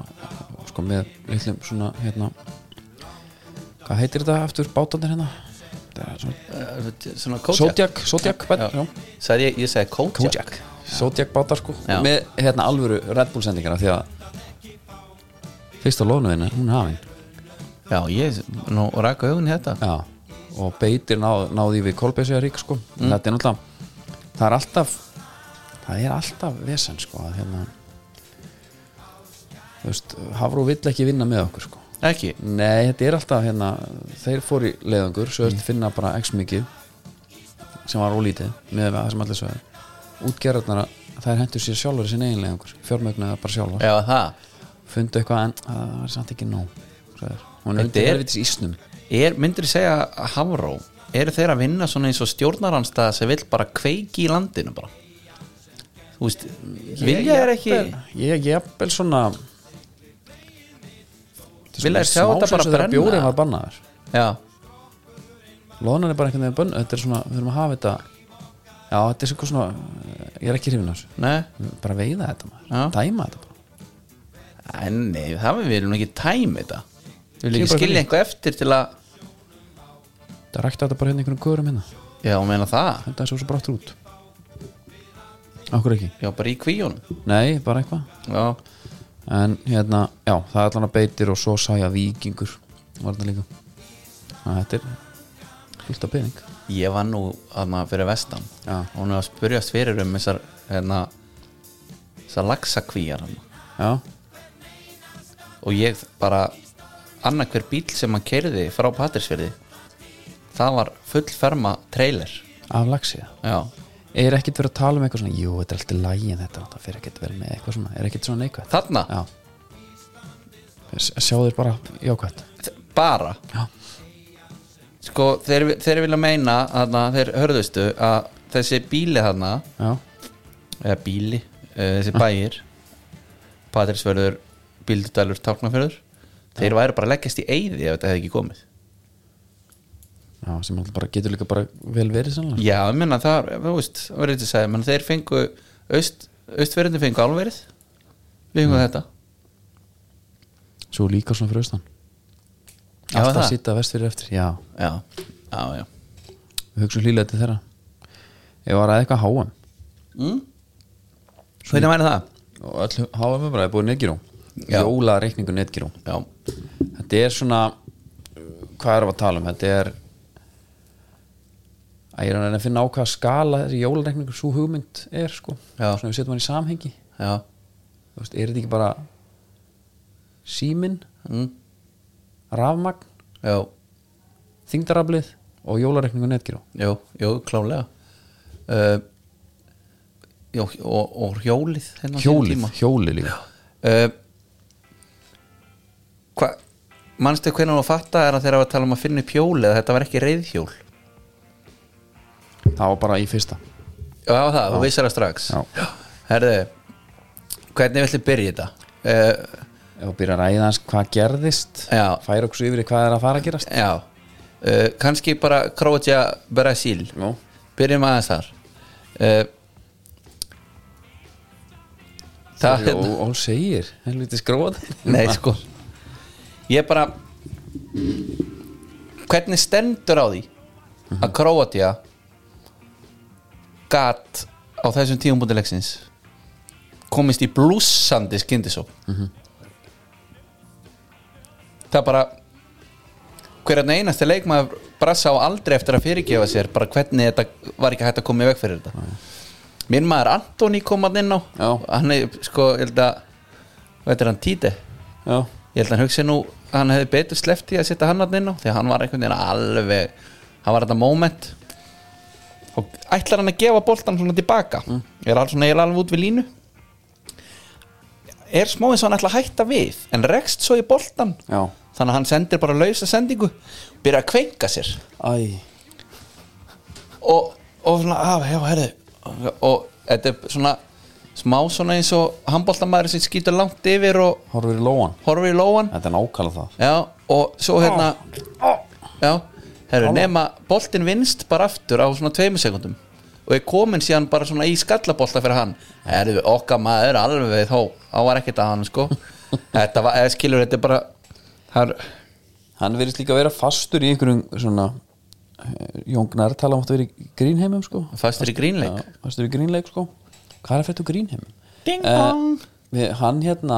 Speaker 1: sko með litlum svona hérna hvað heitir þetta aftur bátandir hérna það er svona
Speaker 2: Uh, Svona Kojak
Speaker 1: Zodiac, Zodiac bát- já.
Speaker 2: Sagði ég, ég sagði Kojak
Speaker 1: Kojak Zodiac bátar sko
Speaker 2: Já.
Speaker 1: með hérna alvöru Red Bull sendingar af því að fyrsta lónuðin hún er hafin
Speaker 2: Já, ég, nú raka augun í þetta
Speaker 1: já. og beitir náð, náði við Kolbeinsvíðarík sko þetta er náttúrulega það er alltaf það er alltaf vesen sko að hérna þú veist, Hafró vill ekki vinna með okkur sko
Speaker 2: Ekki,
Speaker 1: Nei, þetta er alltaf hérna þeir fóru í leiðangur, svo
Speaker 2: Mm.
Speaker 1: þetta finna bara x mikið sem var ólítið með það sem allir svo er útgerðarnar að þær hendur sér sjálfur í sinni eigin leiðangur, fjármögnuða bara sjálfur
Speaker 2: já það
Speaker 1: fundu eitthvað en að það var samt ekki nóg svo er, hún er
Speaker 2: Þetta
Speaker 1: undir
Speaker 2: er-
Speaker 1: helvitis ísnum
Speaker 2: er, Myndir ég segja að Hafró Eru þeir að vinna svona eins og stjórnaranstæða sem vill bara kveiki í landinu bara Þú veist, vilja er ekki
Speaker 1: Ég er jafnvel svona
Speaker 2: Vilja er sjá þetta bara brenna
Speaker 1: Bjórið var bannaður
Speaker 2: Já,
Speaker 1: Lónan er bara einhvern veginn bönn Þetta er svona, við þurfum að hafa þetta Já, þetta er svona, svona ég er ekki hrifin á þessu
Speaker 2: nei
Speaker 1: bara veiða þetta maður,
Speaker 2: Já.
Speaker 1: dæma þetta bara
Speaker 2: Æ, Nei, það við viljum ekki tæmi þetta Við viljum
Speaker 1: Kemur
Speaker 2: ekki
Speaker 1: bara
Speaker 2: skilja
Speaker 1: fyrir.
Speaker 2: eitthvað eftir til að
Speaker 1: það rækta þetta bara hérna einhvern kurum hérna
Speaker 2: Já, og meina það
Speaker 1: þetta er svo svo bráttur út okkur ekki,
Speaker 2: Já, bara í kvíunum
Speaker 1: nei, bara eitthvað
Speaker 2: Já,
Speaker 1: en hérna, já, það er allan að beitir og svo sá ég að vikingur var þetta líka Ná, þetta er fullt af pening
Speaker 2: ég var nú að maður fyrir vestan
Speaker 1: Já.
Speaker 2: og hún er að spurjast fyrir um þessar hérna, þessar laxakvíjar hann.
Speaker 1: já,
Speaker 2: og ég bara annar hver bíl sem hann keiriði frá Patrísfjörði það var fullferma trailer
Speaker 1: af laxið
Speaker 2: Já,
Speaker 1: er ekkert verið að tala um eitthvað svona jú, þetta er alltaf lægin þetta það fyrir ekkert verið með eitthvað svona, er ekkert svona neikvægt
Speaker 2: þarna
Speaker 1: já sjáðu þér bara jákvægt
Speaker 2: bara
Speaker 1: Já.
Speaker 2: Sko, þeir, þeir vilja meina þarna, þeir hörðustu að þessi bíli þarna
Speaker 1: já,
Speaker 2: eða bíli, eh, þessi bæir Patrísfjörður Bíldudalur, Tálknafjörður þeir væri bara að leggjast í eyði ef þetta hefði ekki komið
Speaker 1: já, sem alltaf bara getur líka bara vel verið sannlega
Speaker 2: Já, ég menna það, þú veist það var eitthvað að segja, menn þeir fengu aust, austverðinu Mm. fengu álverið við fengum þetta
Speaker 1: svo líka svona fyrir austan
Speaker 2: Já,
Speaker 1: alltaf
Speaker 2: það?
Speaker 1: sýta vest fyrir eftir já,
Speaker 2: já, já, já.
Speaker 1: við hugsaum hlýlega til þeirra ég var að eitthvað háum
Speaker 2: Mm? Hvernig væri það?
Speaker 1: og öll háum umræði búið netgíró
Speaker 2: Já.
Speaker 1: jóla reikningu netgíró
Speaker 2: Já,
Speaker 1: þetta er svona hvað erum við að tala um, þetta er að ég er að reyna að finna á hvaða skala þessi jólareikningur svo hugmynd er sko,
Speaker 2: Já.
Speaker 1: svona við setjum hann í samhengi
Speaker 2: já
Speaker 1: þú veist, er þetta ekki bara símin,
Speaker 2: mm?
Speaker 1: rafmagn
Speaker 2: Já,
Speaker 1: þingdaraflið og jólareikningu netgíró
Speaker 2: já, já, klálega uh, Já, og, og hjólið hérna á sínum
Speaker 1: hjólið,
Speaker 2: tíma.
Speaker 1: hjólið líka
Speaker 2: uh, Hvað Manstu hvernig að fatta er að þeirra var að tala um að finna upp hjólið að þetta var ekki reyðhjól
Speaker 1: það var bara í fyrsta
Speaker 2: Já, það, þú vissar það strax
Speaker 1: Já.
Speaker 2: Herðu, hvernig viltu byrja þetta? Uh,
Speaker 1: ef við byrja að ræða hans hvað gerðist
Speaker 2: Já.
Speaker 1: færa okkur svo yfir í hvað er að fara að gerast
Speaker 2: já, uh, kannski bara Krótja Brasil
Speaker 1: Nú.
Speaker 2: Byrjum aðeins þar uh, Það hérna-
Speaker 1: Jó, og segir, helviti skróð
Speaker 2: Nei sko Ég bara Hvernig stendur á því að Króatía gat á þessum tíum búti leiksins komist í blúsandi skyndisó Það bara hverjan einasti leikmaður brassa á aldrei eftir að fyrirgefa sér bara hvernig þetta var ekki hægt að koma í veg fyrir þetta Minn maður Antoni kom að inn á
Speaker 1: Já.
Speaker 2: hann er sko, ég held að hvað er hann, Títe?
Speaker 1: já,
Speaker 2: Ég held að hann hugsi nú að hann hefði betur sleppt í að setja hann hann inn á því að hann var einhvern veginn alveg hann var þetta moment og ætlar hann að gefa boltan svona tilbaka er alls svona eiginlega alveg út við línu er smá eins og hann ætla að hætta við en rekst svo í boltan
Speaker 1: já,
Speaker 2: þannig að hann sendir bara lausa sendingu byrja að kvenka sér
Speaker 1: æ
Speaker 2: og, og svona, af, já, herri og þetta er svona smá svona eins og handboltamæður sem skýtur langt yfir og
Speaker 1: horfir í lóan
Speaker 2: horfir í lóan
Speaker 1: þetta er nákvæmlega það
Speaker 2: Já, og svo hérna Já, herru, nema boltinn vinst bara aftur á svona tveimur sekundum og er komin síðan bara svona í skallabolta fyrir hann Herru, okkar maður alveg þó á var ekkert að hann, sko Þetta var, eða skilur, þetta er bara Herru,
Speaker 1: hann verðist líka að vera fastur í einhverjum svona eh, jóngnar tala um að vera í grínheimum sko
Speaker 2: fastur í grínleik
Speaker 1: Já, fastur í grínleik sko hvað er að fættu grínheimum?
Speaker 2: Ding
Speaker 1: Eh,
Speaker 2: dong.
Speaker 1: við, hann hérna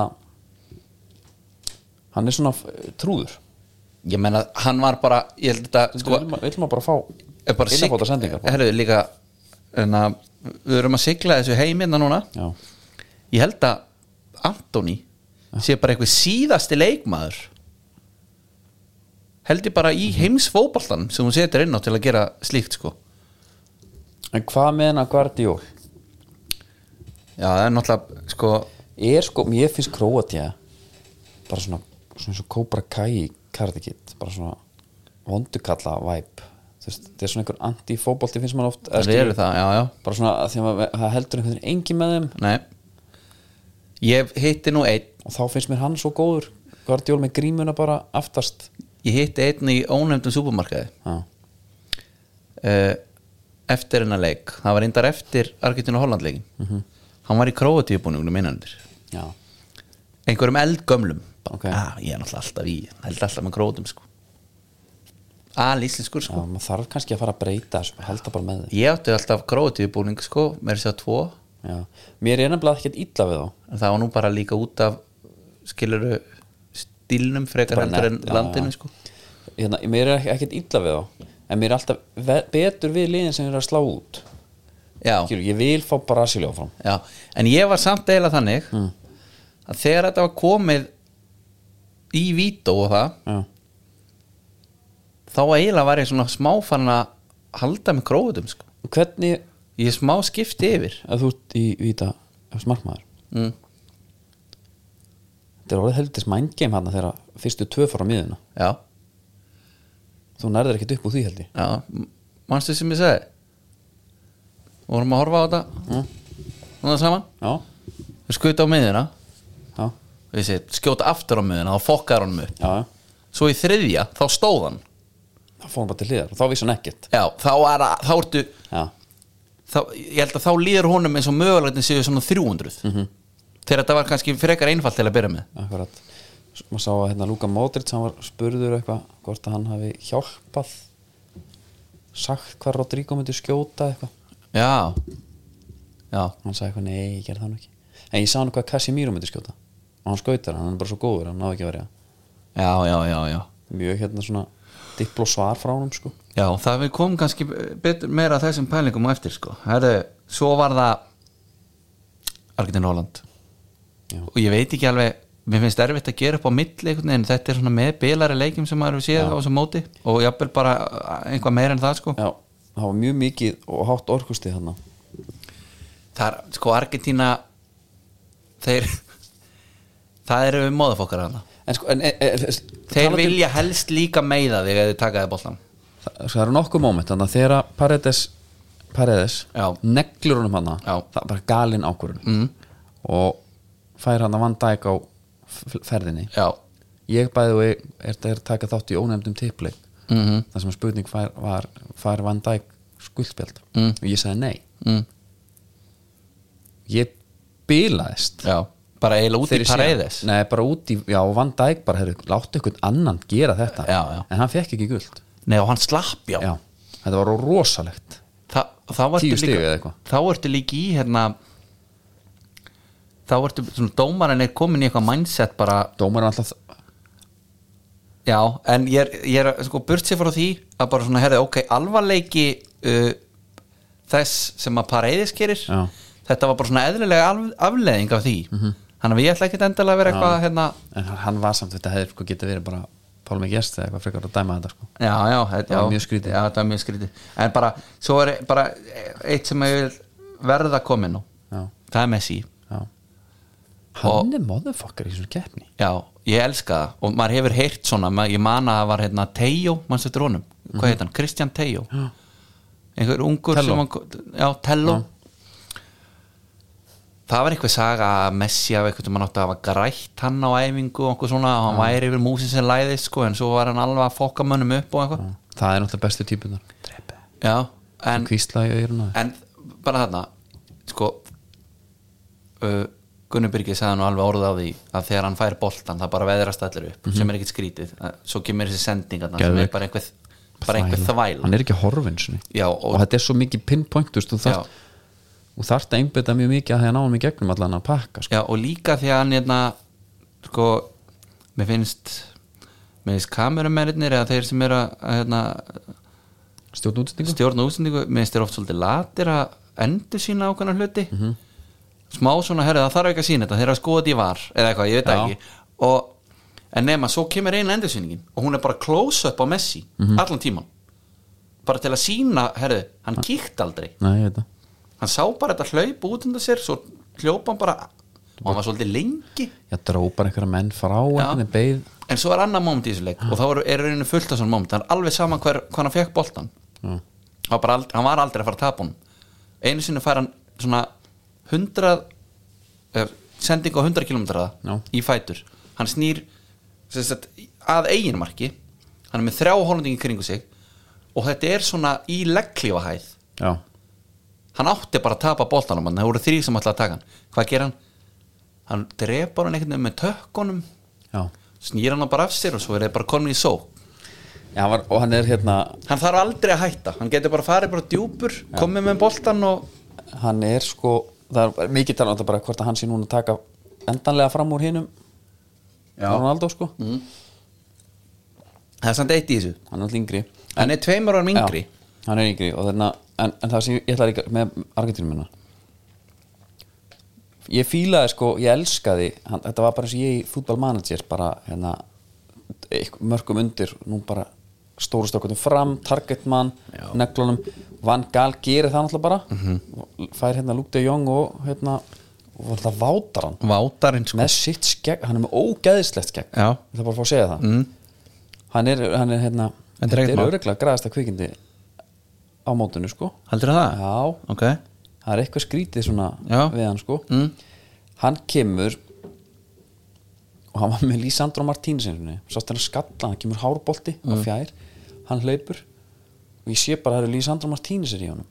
Speaker 1: hann er svona eh, trúður
Speaker 2: Ég meina, hann var bara, ég held þetta
Speaker 1: sko,
Speaker 2: sko,
Speaker 1: vil, ma- vill maður bara fá
Speaker 2: er bara sigl-
Speaker 1: innanbóta sendingar bara.
Speaker 2: Herru, líka en að, Við erum að sigla þessu heiminna núna
Speaker 1: já,
Speaker 2: ég held að Antoni sé bara eitthvað síðasti leikmaður held ég bara í heimsfóbaltan sem hún setur inn á til að gera slíkt sko
Speaker 1: en hvað með hennar Guardiol
Speaker 2: já það er náttúrulega sko
Speaker 1: er sko, mér finnst Króatja bara svona, svona eins og Cobra Kai Karate Kid, bara svona vondukalla væp þetta er svona einhver anti-fótbolti finnst maður oft eða
Speaker 2: það
Speaker 1: skilur-
Speaker 2: eru það, já já
Speaker 1: bara svona að því að maður- það heldur einhvern veginn engin með þeim
Speaker 2: Nei. ég hitti nú einn
Speaker 1: og þá finnst mér hann svo góður Guardiol með grímuna bara aftast
Speaker 2: ég hitti einn í ónefndum supermarkaði
Speaker 1: já,
Speaker 2: uh, eftir hennar leik það var reyndar eftir Argentina og Holland leikin hann var í króatíubúningunum innandir
Speaker 1: já,
Speaker 2: einhverjum eldgömlum bara,
Speaker 1: Ok.
Speaker 2: ah, ég er náttúrulega alltaf í, held alltaf með krótum sko alíslenskur
Speaker 1: já
Speaker 2: sko
Speaker 1: maður þarf kannski að fara að breyta þessu, heldur bara með þeim
Speaker 2: ég átti alltaf krótubúning sko með þess að segja tvo,
Speaker 1: já. mér er nefnilega ekkert illa við þá
Speaker 2: en það var nú bara líka út af skiluru stílnum frekar
Speaker 1: Bara
Speaker 2: heldur en
Speaker 1: nett, já,
Speaker 2: landinu
Speaker 1: já.
Speaker 2: sko
Speaker 1: hérna, mér er ekkert illa við þá en mér er alltaf ve- betur við liðin sem er að slá út
Speaker 2: já,
Speaker 1: Skilur, ég vil fá Brasilia áfram
Speaker 2: já, en ég var samt eiginlega þannig
Speaker 1: Mm.
Speaker 2: að þegar þetta var komið í vító og það
Speaker 1: já,
Speaker 2: þá eiginlega var ég svona smáfann að halda með krótum sko
Speaker 1: hvernig
Speaker 2: ég smá skipti yfir
Speaker 1: að þú ert í víta smarkmaður
Speaker 2: mm.
Speaker 1: þetta er orðið heldist mindgame hann þegar að fyrstu tvö fara á miðuna
Speaker 2: já
Speaker 1: þú nærðir ekkert upp úr því held ég
Speaker 2: Já, m- manstu sem ég segi vorum að horfa á þetta núna saman
Speaker 1: já,
Speaker 2: við skuta á miðina
Speaker 1: já,
Speaker 2: við sé, skjóta aftur á miðina þá fokkar hann mig upp
Speaker 1: já, já.
Speaker 2: svo í þriðja, þá stóð hann
Speaker 1: þá fór hann bara til hliðar og þá vissi hann ekkert
Speaker 2: já, þá, er, að- þá ertu
Speaker 1: já,
Speaker 2: þá, ég held að þá líður honum eins og mögulegni séu svona 300 þegar þetta var kannski frekar einfalt til að byrja með
Speaker 1: akkurat S- maður sá að hérna Luka Modric hann var spurður eitthvað hvort að hann hafi hjálpað sagt hvað Rodrigo myndi skjóta eitthvað
Speaker 2: Já Já,
Speaker 1: hann sagði eitthvað nei, ég gerði það nú ekki en ég sá hann hvað Casemiro myndi skjóta og hann skautar, hann er bara svo góður, hann náði ekki að verja
Speaker 2: já, já, já, já.
Speaker 1: mjög hérna svona dipló svar frá honum sko
Speaker 2: Já, það við komum kannski betur meira að þessum pælingum á eftir sko. Herðu, svo var það Argentin Holland
Speaker 1: Já.
Speaker 2: og ég veit ekki alveg mér finnst erfitt að gera upp á milli einhvern veginn, en þetta er svona með bilari leikjum sem maður hefur séð á þessu móti og jafnvel bara uh, einhvað meira en það sko.
Speaker 1: já, það var mjög mikið og hátt orkustið hann
Speaker 2: Það er, sko, Argentina þeir það eru við móðafokkar hana
Speaker 1: en sko, en e, e, e,
Speaker 2: þeir
Speaker 1: talandi-
Speaker 2: vilja helst líka meiða þig eða þið takaði boltan
Speaker 1: það, sko, það eru nokkuð móment þannig að þegar að Paredes Paredes,
Speaker 2: Já.
Speaker 1: neglur honum hann
Speaker 2: Já.
Speaker 1: það er bara galin ákvörun mm. og fær hann að vanda ekki á f- ferðinni
Speaker 2: Já,
Speaker 1: ég bæði og ég er það er að taka þátt í ónefndum tipleik mm -hmm.
Speaker 2: Mhm.
Speaker 1: þar sem spurning fær, var fær Van Dijk skuldspjald mm. og ég sagði nei
Speaker 2: mm.
Speaker 1: ég bilaðist
Speaker 2: já bara eiginlega út
Speaker 1: Þegar
Speaker 2: í
Speaker 1: ég sé-
Speaker 2: Paredes
Speaker 1: Nei, bara út í, já, og Van Dijk bara heyrðu, láttu einhvern annan gera þetta
Speaker 2: Já, já.
Speaker 1: en hann fekk ekki guld
Speaker 2: Nei og hann slapp já,
Speaker 1: já, þetta var rosalegt
Speaker 2: Þa, þá ertu
Speaker 1: Tíu
Speaker 2: líka-
Speaker 1: stig eða eitthvað.
Speaker 2: Þá ertu líka í hérna þá ertu svona dómarinn er komin í eitthvað mindset bara
Speaker 1: dómar er alltaf
Speaker 2: já en ég er, ég er sko burt sér frá því að bara svona herði ok alvarleiki uh, þess sem að pareiðis gerir
Speaker 1: Já. Mhm.
Speaker 2: þetta var bara svona eðlilega af, afleðing af því þannig að ég ætla ekkit endalega að vera eitthvað hérna
Speaker 1: en hann- hann var samt þetta hefði sko getið verið bara Pálmi Gerst eða eitthvað frekar að dæma þetta sko
Speaker 2: já já þetta
Speaker 1: Það var
Speaker 2: já,
Speaker 1: mjög skrítið.
Speaker 2: já, þetta var mjög skrítið en bara svo er bara eitt sem ég vil verða komin nú
Speaker 1: já,
Speaker 2: það er Messi
Speaker 1: já. hann er motherfucker í svona keppni
Speaker 2: Já, ég elska það og maður hefur heyrt svona, ma- ég man að það var hérna Teijo, mannstu eftir honum, hvað heit hann? Kristján Teijo einhver ungur
Speaker 1: Tello.
Speaker 2: sem hann, já, Tello það var eitthvað saga að Messi af eitthvað mann átti að hafa grætt hann á æfingu og einhver svona, og hann væri yfir músin sem læði sko, en svo var hann alveg að fokka mönnum upp og eitthvað,
Speaker 1: það er náttúrulega bestu típunar drepe,
Speaker 2: já, en
Speaker 1: kvísla í öyrun á þér
Speaker 2: en bara þarna sko uh, Gunnar Birgir sagði nú alveg orðið á því að þegar hann fær boltan það bara veðrast allir upp
Speaker 1: Mhm.
Speaker 2: sem er ekkit skrítið, Að- svo kemur þessi sending þarna sem er
Speaker 1: Geðveik.
Speaker 2: bara einhver, bara einhver þvæl
Speaker 1: hann er ekki horfinn sinni
Speaker 2: Já,
Speaker 1: og,
Speaker 2: og-
Speaker 1: þetta er svo mikið pinpoint þú veist, þú
Speaker 2: já,
Speaker 1: þarft, þú þarft að einbytta mjög mikið að því að ná hann í gegnum allan að pakka sko.
Speaker 2: já, og líka því að hann hérna, sko mér finnst mér finnst kameramennir eða þeir sem eru að að, hérna,
Speaker 1: stjórn útsendingu
Speaker 2: stjórna útsendingu mér finnst þeir oft svolítið latir að endur sína ákveðna hluti smá svona, herri það þarf ekki að sína þetta þeir eru að skoða því var, eða eitthvað, ég veit það
Speaker 1: Já.
Speaker 2: ekki og, en nema, svo kemur eina endursýningin og hún er bara close up á Messi allan tíman bara til að sína, herri, hann kíkt aldrei
Speaker 1: Nei, ég veit það.
Speaker 2: hann sá bara þetta hlaup út undan sér svo hljópa hann bara og hann var svolítið lengi
Speaker 1: ég drópar einhverja menn frá einhvern veginn beið
Speaker 2: en svo er annar moment í þessu leik og þá eru- er einu fullt af svona moment það er alveg sama hver, hvað hann fekk boltan
Speaker 1: Já.
Speaker 2: hann, bara ald, hann var aldrei að fara að tapa hún einu sinni fær hann svona 100 eh, sending á 100
Speaker 1: Já.
Speaker 2: km í fætur hann snýr sem sagt, að eiginmarki hann er með þrjá hólendingi kringu sig og þetta er svona í leggklífahæð
Speaker 1: já,
Speaker 2: hann átti bara að tapa boltanum hann, það voru þrý sem ætlaði að taka hann hvað ger hann? hann drepar hann einhvern veginn með tökkunum
Speaker 1: já.
Speaker 2: snýr hann bara af sér og svo er það bara komin í só
Speaker 1: já hann var, og hann er hérna
Speaker 2: hann þarf aldrei að hætta, hann getur bara farið bara djúpur, komið með boltan og
Speaker 1: hann er sko það er mikið talað um þetta bara hvort að hann sé núna að taka endanlega fram úr hinnum Ronaldo sko,
Speaker 2: Mm. það er samt eitt í þessu
Speaker 1: hann er alltaf yngri
Speaker 2: hann er tveimur árum yngri
Speaker 1: Já, hann er yngri og þarna, en, en það sem ég, ég ætla líka með Argentínum minna ég fílaði sko, ég elskaði hann, þetta var bara eins og ég í Football Manager bara hérna eitth- mörgum undir, nú bara stóru stökkutum fram, targetmann
Speaker 2: Já. Mhm.
Speaker 1: neglunum, Van Gaal gerir það náttúrulega bara, fær hérna Luke de Jong og hérna og var það vátar hann
Speaker 2: vátarinn sko
Speaker 1: með sitt skegg, hann er með ógeðislegt skegg
Speaker 2: Já.
Speaker 1: ég ætla bara að fá að segja það mm. hann er, hann er hérna
Speaker 2: En þetta er
Speaker 1: þetta er
Speaker 2: mál.
Speaker 1: öruglega græðasta kvikindi á mótinu sko
Speaker 2: heldur það?
Speaker 1: já,
Speaker 2: ok,
Speaker 1: það er eitthvað skrítið svona
Speaker 2: Já.
Speaker 1: við hann sko
Speaker 2: Mm.
Speaker 1: hann kemur og hann var með Lísandro Martínez sinni, sást hann að skalla, hann kemur hárbolti
Speaker 2: Mm.
Speaker 1: á fjær, hann hleypur og ég sé bara að það eru Lísandro Martínez er í honum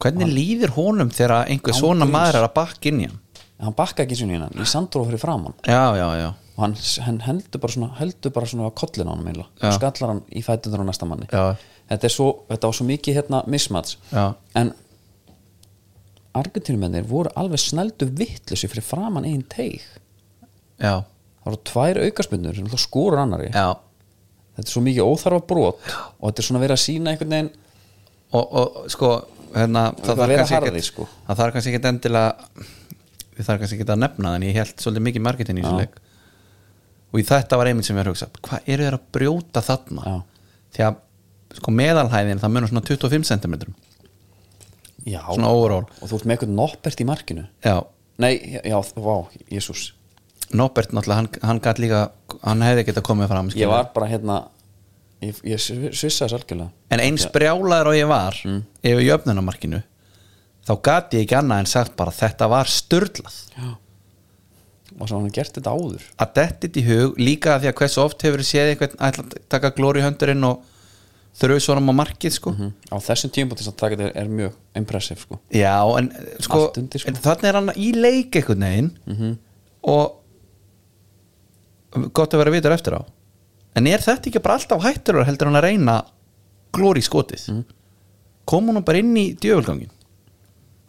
Speaker 2: hvernig líður honum þegar einhver svona
Speaker 1: Ángríns.
Speaker 2: maður er að bakka inn í hann
Speaker 1: en hann bakka ekki sinni hérna, Lísandro fyrir framann
Speaker 2: já, já, já
Speaker 1: og hann, hann heldur bara svona heldur bara svona á kollin á hann meila
Speaker 2: Já.
Speaker 1: og skallar hann í fætundur á næsta manni
Speaker 2: Já.
Speaker 1: þetta er svo, þetta var svo mikið hérna mismats
Speaker 2: Já.
Speaker 1: en Argentínumennir voru alveg snældu vittlusi fyrir framan einn teig
Speaker 2: já,
Speaker 1: það voru tvær aukaspundur sem náttúrulega skúrur annari
Speaker 2: já
Speaker 1: þetta er svo mikið óþarfa brot og þetta er svona verið að sína einhvern veginn
Speaker 2: og, og sko hérna,
Speaker 1: Það
Speaker 2: þarf
Speaker 1: vera
Speaker 2: kannski
Speaker 1: harði,
Speaker 2: ekkert-
Speaker 1: sko.
Speaker 2: það þarf kannski ekkert endilega við þarf kannski ekkert að nefna það en ég held svolítið mikið marketin í þessu leik og í þetta var einmitt sem ég var að hugsa hvað eru þeir að brjóta þarna
Speaker 1: Já.
Speaker 2: því að sko meðalhæðin það munur svona 25 cm
Speaker 1: já,
Speaker 2: svona overall
Speaker 1: og þú ert með einhvern noppert í markinu
Speaker 2: já,
Speaker 1: nei, já, vá, jésús
Speaker 2: Norbert náttúrulega hann, hann gæti líka hann hefði getað komið fram
Speaker 1: ég
Speaker 2: skilur.
Speaker 1: var bara hérna ég, ég svissa þess algjörlega
Speaker 2: en eins brjálaður og ég var
Speaker 1: Mm.
Speaker 2: yfir jöfnunamarkinu þá gæti ég ekki annað en sagt bara þetta var störlað
Speaker 1: og svo hann hafði gert þetta áður
Speaker 2: að detti þetta í hug líka að því að hversu oft hefur séð einhvern ætla að taka glóri höndurinn og þröðu svo hann á markið sko
Speaker 1: á þessum tímpúti sem taka þetta er mjög impressiv sko.
Speaker 2: já en sko,
Speaker 1: Allt undir, sko. Mhm.
Speaker 2: en þannig er hann í leik einhvern veginn og gott að vera vitur eftir á en er þetta ekki bara alltaf hættur heldur hann að reyna glóri skotið
Speaker 1: Mhm.
Speaker 2: kom hún bara inn í djöfulgangin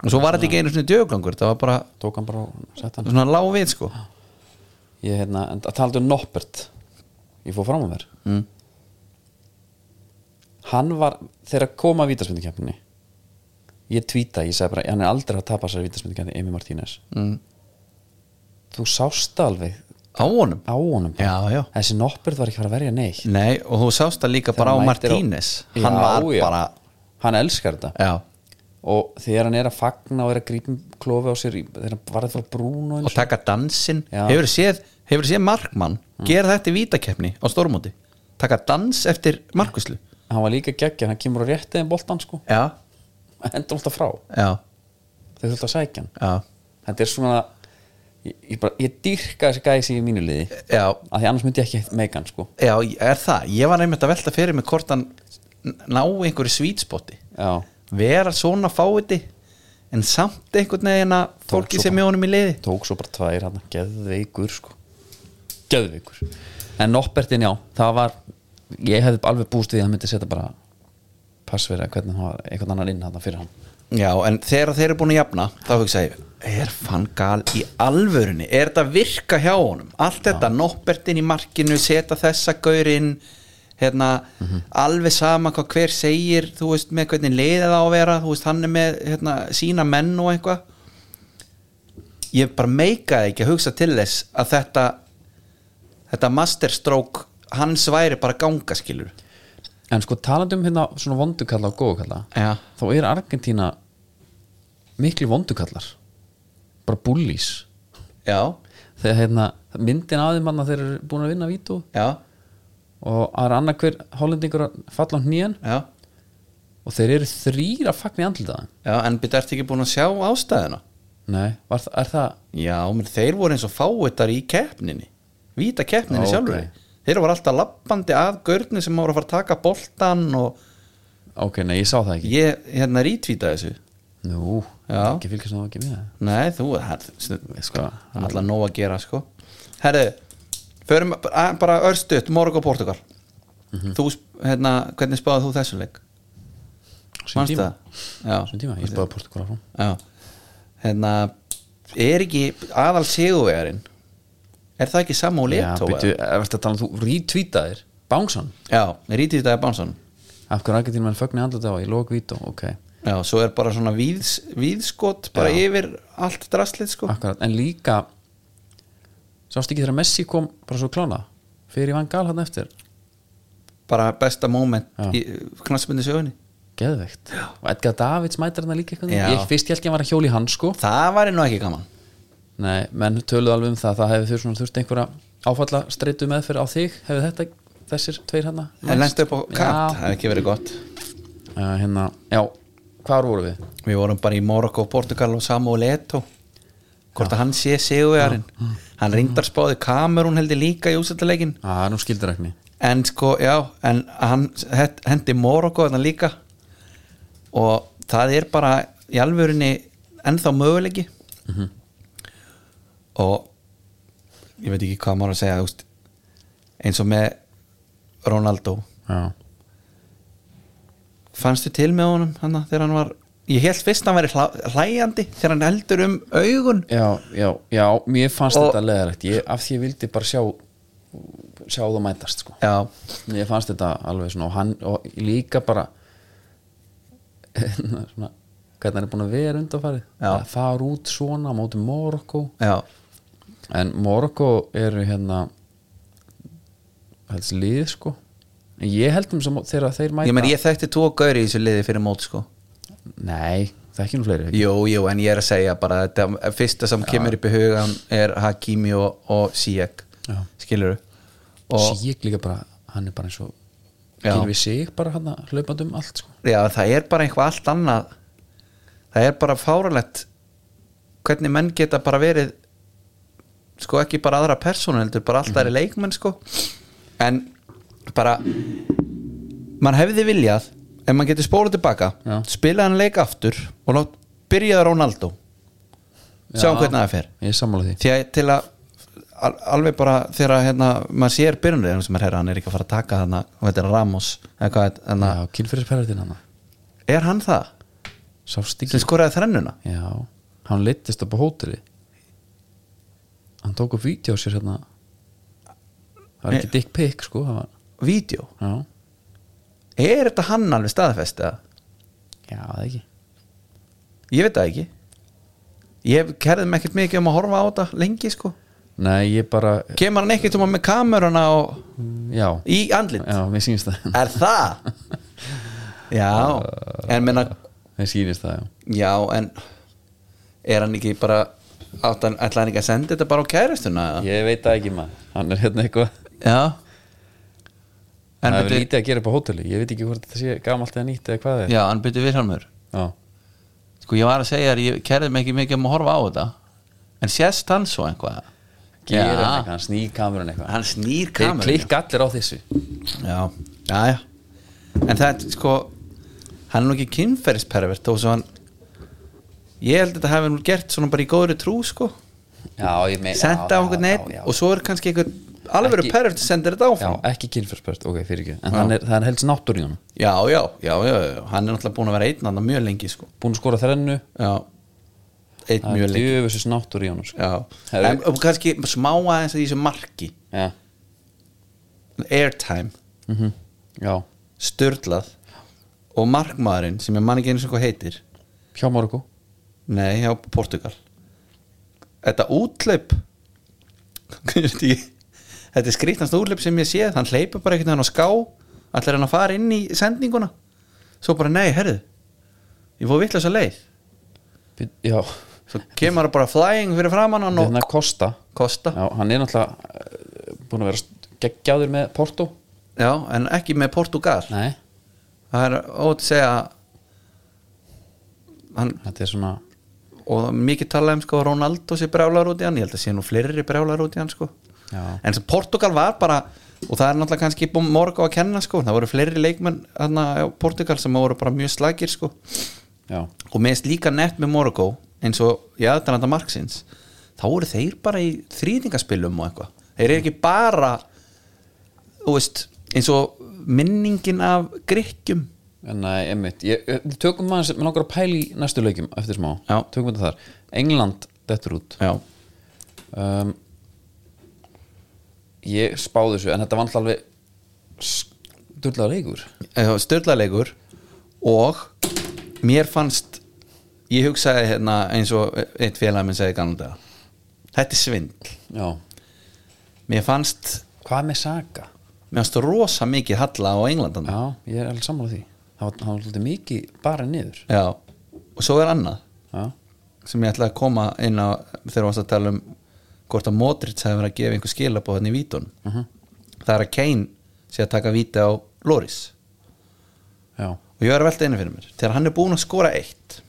Speaker 2: og svo var þetta ekki einu svona djöfulgangur það var bara
Speaker 1: tók hann bara og sett hann
Speaker 2: svona lág við sko
Speaker 1: ég hérna, en það talaði um Noppert ég fór fram á mér
Speaker 2: mm.
Speaker 1: hann var, þegar að koma að vítarsmyndikeppninni ég tvíta, ég sagði bara hann er aldrei að tapa sér vítarsmyndikeppni Emi Martínez
Speaker 2: Mm.
Speaker 1: þú sást alveg
Speaker 2: á honum
Speaker 1: á honum bara.
Speaker 2: já já
Speaker 1: þessi Noppert var ekki að fara að verja neitt
Speaker 2: Nei, og þú sást það líka
Speaker 1: Þegar
Speaker 2: bara á
Speaker 1: hann mætir
Speaker 2: Martínez
Speaker 1: Já,
Speaker 2: Hann var
Speaker 1: já.
Speaker 2: bara
Speaker 1: hann elskar þetta
Speaker 2: já,
Speaker 1: og þegar hann er að fagna og er að grípum klofi á sér í- þegar hann var að fara brún og
Speaker 2: og
Speaker 1: eins
Speaker 2: taka dansinn
Speaker 1: Já.
Speaker 2: Hefur séð, hefur séð Markmann gera þetta í vítakefni á stórmóti Taka dans eftir Markuslu
Speaker 1: hann var líka geggja, hann kemur á réttið en boltan sko,
Speaker 2: Já,
Speaker 1: endur alltaf frá
Speaker 2: já,
Speaker 1: þau þurft að sækja hann
Speaker 2: já,
Speaker 1: þetta er svona ég, ég, bara, ég dyrka þessi gæsi í mínu liði af
Speaker 2: já
Speaker 1: því annars myndi ég ekki meika hann sko
Speaker 2: Já, er það, ég var einmitt að velta fyrir mig hvort hann n- ná einhverju svítspoti
Speaker 1: já,
Speaker 2: Vera svona fáiði En samt einhvern veginn að fólki
Speaker 1: svo
Speaker 2: sem er honum í liði
Speaker 1: tók svo bara tvær hann geðveikur sko geðveikur en Noppertin já, það var ég hefði alveg búst við að hann myndi setja bara passverið að hvernig hann var einhvern annan inn hann fyrir hann
Speaker 2: Já, en þegar þeir eru búin að jafna þá hugsa ég, er fann gal í alvörunni, er þetta að virka hjá honum allt þetta, noppertinn í markinu seta þessa gaurinn hérna, alveg sama hvað hver segir, þú veist, með hvernig leiðið á að vera, þú veist, hann er með hérna, sína menn og eitthvað ég bara meikaði ekki að hugsa til þess að þetta þetta masterstroke hans væri bara gangaskilur
Speaker 1: en sko talandi um hérna svona vondukalla og góðukalla
Speaker 2: Já,
Speaker 1: þá er Argentína miklu vondukallar bara bullís
Speaker 2: já,
Speaker 1: þegar hérna, myndin af þeim að þeir eru búin að vinna vítu
Speaker 2: já,
Speaker 1: og það er annað hver hollendingur að falla á hnýjan
Speaker 2: já
Speaker 1: og þeir eru þrýr að fagna í andlitaðan
Speaker 2: Já, en byrja ertu ekki búin að sjá ástæðuna?
Speaker 1: nei, var, það- er það
Speaker 2: Já, menn þeir voru eins og fáiðar í keppninni Víta keppninni
Speaker 1: Ó,
Speaker 2: okay. sjálfur Þeir voru alltaf lappandi að görni sem voru að fara að taka boltan og
Speaker 1: ok, nei, ég sá það ekki
Speaker 2: ég hérna rítvíta þessu
Speaker 1: nú,
Speaker 2: Já.
Speaker 1: ekki fylgjast það ekki með
Speaker 2: Nei, þú, það
Speaker 1: Ég sko,
Speaker 2: er alltaf nóg að gera sko Herðu, förum að- bara örstuðt, Morg og Portugal
Speaker 1: Mhm.
Speaker 2: Þú, sp- hérna, hvernig spáði þú þessu leik?
Speaker 1: sem tíma,
Speaker 2: Já,
Speaker 1: sem tíma, ég spáði Portugal áfram
Speaker 2: Já Hérna, er ekki aðal sigurvegarinn Er það ekki sama og
Speaker 1: já,
Speaker 2: letóa?
Speaker 1: byrju, er þetta að tala um þú rítvítaðir bánsan,
Speaker 2: Já, rítið þetta er Bánsson
Speaker 1: af hverju Argentína menn fagna í andlitaðan í lók vítu, ok
Speaker 2: Já, svo er bara svona víðs, víðskot bara
Speaker 1: Já.
Speaker 2: yfir allt drastlið sko
Speaker 1: Akkurat, en líka sástu ekki þegar Messi kom bara svo klána, fyrir Van Gaal hann eftir
Speaker 2: bara besta moment
Speaker 1: Já.
Speaker 2: í knassbundu sögunni
Speaker 1: geðveikt, og Edgar Davids mætir hann líka eitthvað,
Speaker 2: Já.
Speaker 1: ég fyrst held ég að hann var að hjóli hann sko
Speaker 2: Það væri nú ekki gaman
Speaker 1: Nei, menn töluðu alveg um það það hefði þurft, svona, þurft einhverja áfalla streytu meðferð á þig, hefði þetta þessir tveir hérna
Speaker 2: En lent upp á kant, það
Speaker 1: já,
Speaker 2: hefði ekki verið gott
Speaker 1: uh, hérna, já, hvar voru við?
Speaker 2: Við vorum bara í Morokko, Portugal og Samu og Leto Hvort að hann sé sigurvegarinn Hann reyndar spáði Kamerún heldur líka í úsættaleikin
Speaker 1: Já, ah, nú skildur ekki
Speaker 2: En sko, já, en hann het- hendi Morokko þarna líka og það er bara í alvörinni ennþá möguleiki og ég veit ekki hvað maður að segja þú veist, eins og með Ronaldo
Speaker 1: já,
Speaker 2: fannstu til með honum hana, þegar hann var ég held fyrst að hann væri hla- hlæjandi þegar hann heldur um augun
Speaker 1: já, já, já mér fannst
Speaker 2: Og-
Speaker 1: þetta leðalegt ég, af því ég vildi bara sjá sjá það mætast sko
Speaker 2: já,
Speaker 1: ég fannst þetta alveg svona og, hann, og líka bara hérna, svona, hvernig hann er búin að vera undanfarið
Speaker 2: Já.
Speaker 1: að fara út svona á móti Morokko
Speaker 2: já,
Speaker 1: en Morokko eru hérna helst lið sko en ég um heldum sem þegar þeir mæta
Speaker 2: ég menn ég þekkti tvo gauri í þessu liði fyrir mót sko
Speaker 1: nei, það er ekki nú fleiri
Speaker 2: jú, jú, en ég er að segja bara að þetta fyrsta sem kemur upp í hugan er Hakimi og, og Sijek
Speaker 1: Já.
Speaker 2: skilur og
Speaker 1: Sýk líka bara, hann er bara eins og
Speaker 2: Já.
Speaker 1: Gylfi Sig bara hann hlaupandi um allt sko.
Speaker 2: já, það er bara eitthvað allt annað það er bara fáralegt hvernig menn geta bara verið sko ekki bara aðra persónu heldur bara alltaf
Speaker 1: Mhm.
Speaker 2: er leikmenn sko en bara mann hefði viljað ef mann getur spólað tilbaka
Speaker 1: Já.
Speaker 2: spila hann leik aftur og lát byrjaði Ronaldo sjáum
Speaker 1: Já.
Speaker 2: hvernig það fer
Speaker 1: ég er sammála því
Speaker 2: því að til að al- alveg bara þegar að, hérna, maður sér byrjunriðan sem er herra, hann er ekki að fara að taka hann og þetta er Ramos eða hvað, hana,
Speaker 1: Já, kynfyrirsperðin hann
Speaker 2: er hann það
Speaker 1: sást ekki
Speaker 2: sem skoraði þrennuna
Speaker 1: Já, hann leittist upp á hóteli hann tók upp vídeo á sér hérna það var ekki dick pic sko það var,
Speaker 2: vídeo,
Speaker 1: já,
Speaker 2: er þetta hann alveg staðfest eða?
Speaker 1: já, það ekki
Speaker 2: ég veit það ekki ég kerði mig ekkert mikið um að horfa á þetta lengi sko,
Speaker 1: Nei, ég bara,
Speaker 2: kemur hann ekkert um að með kameruna og
Speaker 1: já
Speaker 2: í andlit
Speaker 1: Já, mér sýnist það
Speaker 2: er það? já, en menna
Speaker 1: Mér sýnist það, já
Speaker 2: já, en er hann ekki bara átt hann, ætla hann ekki að senda þetta bara á kæristuna eða?
Speaker 1: Ég veit það ekki maður Hann er hérna eitthvað
Speaker 2: Já En
Speaker 1: Það er
Speaker 2: byrju,
Speaker 1: lítið að gera upp á hóteli Ég veit ekki hvort þetta sé gamalt eða nýtt eða hvað það er
Speaker 2: já, en byrju Vilhelmur
Speaker 1: Já,
Speaker 2: Sko, ég var að segja þér, ég kerði mig ekki mikið um að horfa á þetta En sést hann svo einhvað
Speaker 1: gera
Speaker 2: Já.
Speaker 1: hann eitthvað, hann snýr kamerun eitthvað
Speaker 2: Hann snýr
Speaker 1: Þeir
Speaker 2: kamerun
Speaker 1: klikka allir á þessu
Speaker 2: Já, já, já En það er, sko Hann er nú ekki kynferðispervert Þó svo hann Ég held að þetta hafi nú gert svona bara í góðri trú, sko
Speaker 1: Já, ég með
Speaker 2: Senda á einhvern
Speaker 1: neitt
Speaker 2: neitt Og svo er kannski einhver Alveg
Speaker 1: Ekki-
Speaker 2: verið pervert að senda þetta
Speaker 1: Já,
Speaker 2: áfram
Speaker 1: ekki kynfyrspöst, ok, fyrir ekki En hann er, það er helst náttúr í honum
Speaker 2: Já, já, já, já, já Hann er náttúrulega búin að vera einn annar mjög lengi, sko
Speaker 1: Búin að skora þrennu
Speaker 2: Já Einn
Speaker 1: Það
Speaker 2: mjög
Speaker 1: er
Speaker 2: lengi
Speaker 1: djöfusis náttúr í honum sko.
Speaker 2: Já,
Speaker 1: Herru.
Speaker 2: en, og kannski smá aðeins að þessu marki
Speaker 1: Já,
Speaker 2: airtime,
Speaker 1: mhm, já
Speaker 2: störlað og markmaðurinn sem ég man ekki eins og hvað heitir
Speaker 1: Hjá Morgo
Speaker 2: nei, hjá Portugal þetta útlaup Ég veit ekki, þetta er skrýtnast útlaup sem ég séð, hann hleypur bara einhvern veginn á ská allir hann að fara inn í sendinguna svo bara nei, herðu ég fór vitlega svo leið
Speaker 1: Já,
Speaker 2: svo kemur hann bara flying fyrir framann hann og
Speaker 1: þannig að Kosta
Speaker 2: kosta
Speaker 1: Já, hann er náttúrulega eh, búin að vera st- geggjaður með Porto
Speaker 2: já, en ekki með Portugal
Speaker 1: Nei,
Speaker 2: það er ótt að segja hann,
Speaker 1: þetta er svona
Speaker 2: og það er mikið talað um sko Ronaldo sé brjálar út í hann, ég held að sé nú fleiri brjálar út í hann sko
Speaker 1: Já.
Speaker 2: en sem Portugal var bara og það er náttúrulega kannski búin morgu að kenna sko það voru fleiri leikmenn þarna á Portugal sem voru bara mjög slagir sko
Speaker 1: Já,
Speaker 2: og meðist líka nett með Morgo eins og í aðdænanda Marksins þá eru þeir bara í þrýtingaspilum og eitthvað, þeir eru ekki bara þú veist eins og minningin af grikkjum
Speaker 1: en nei, emmitt ég, eh, Við tökum maður, mér langar að pæla í næstu leikjum eftir smá,
Speaker 2: Já.
Speaker 1: tökum þetta þar England, dettur út
Speaker 2: já,
Speaker 1: um, ég spáði þessu en þetta var alltaf alveg sturlaður leikur
Speaker 2: störlalegur eh, og mér fannst ég hugsaði hérna eins og eitt félag minn segi ganlega þetta er svindl,
Speaker 1: já.
Speaker 2: mér fannst
Speaker 1: hvað með Saga?
Speaker 2: mér fannst rosa mikið halla á Englandan
Speaker 1: já, ég er alveg sammála því það var, það var alltaf mikið bara niður
Speaker 2: já, og svo er annað
Speaker 1: já,
Speaker 2: sem ég ætlaði að koma inn á þegar við varst að tala um hvort að Modric hefði verið að gefa einhver skilabóð hann í vítun það er að Kane sé að taka víti á Loris
Speaker 1: já,
Speaker 2: og ég er að velta einu fyrir mér þegar hann er búin að skora eitt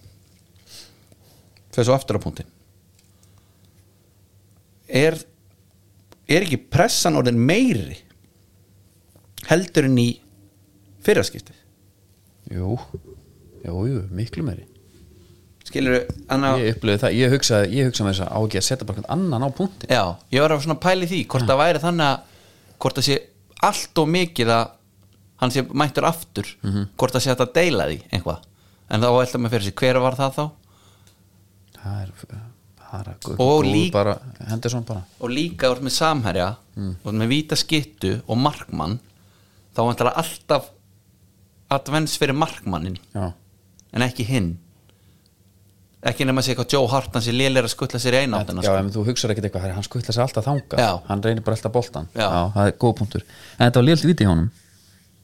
Speaker 2: fyrir svo aftur á punkti er er ekki pressan orðin meiri heldur en í fyrraskipti
Speaker 1: jú jú, jú, miklu meiri
Speaker 2: skilur annað,
Speaker 1: Ég upplöði það, ég hugsaði, ég hugsaði með þess að á ekki að setja bara einhvern annan á punktin
Speaker 2: já, ég var að svona pæli því hvort það væri þannig að hvort það sé allt og mikið að hann sé mættur aftur hvort það sé hægt að deila því einhvað en þá ætla maður fyrir sig, hver var það þá
Speaker 1: Það er eh, bara guð,
Speaker 2: Og
Speaker 1: guð,
Speaker 2: lík-
Speaker 1: bara, hendur svona bara
Speaker 2: og líka úr með samherja mm. úr með víta skittu og markmann þá var það alltaf advens fyrir markmannin
Speaker 1: Já,
Speaker 2: en ekki hinn ekki nema að sé eitthvað Joe Hart hann sé lélir að skutla sér í sko. eináttina
Speaker 1: já en þú hugsar ekkert eitthvað, herri, hann skutla sér alltaf þangað
Speaker 2: Já.
Speaker 1: Hann reynir bara alltaf boltan
Speaker 2: Já.
Speaker 1: það er góð punktur En þetta var lélt viti hjá honum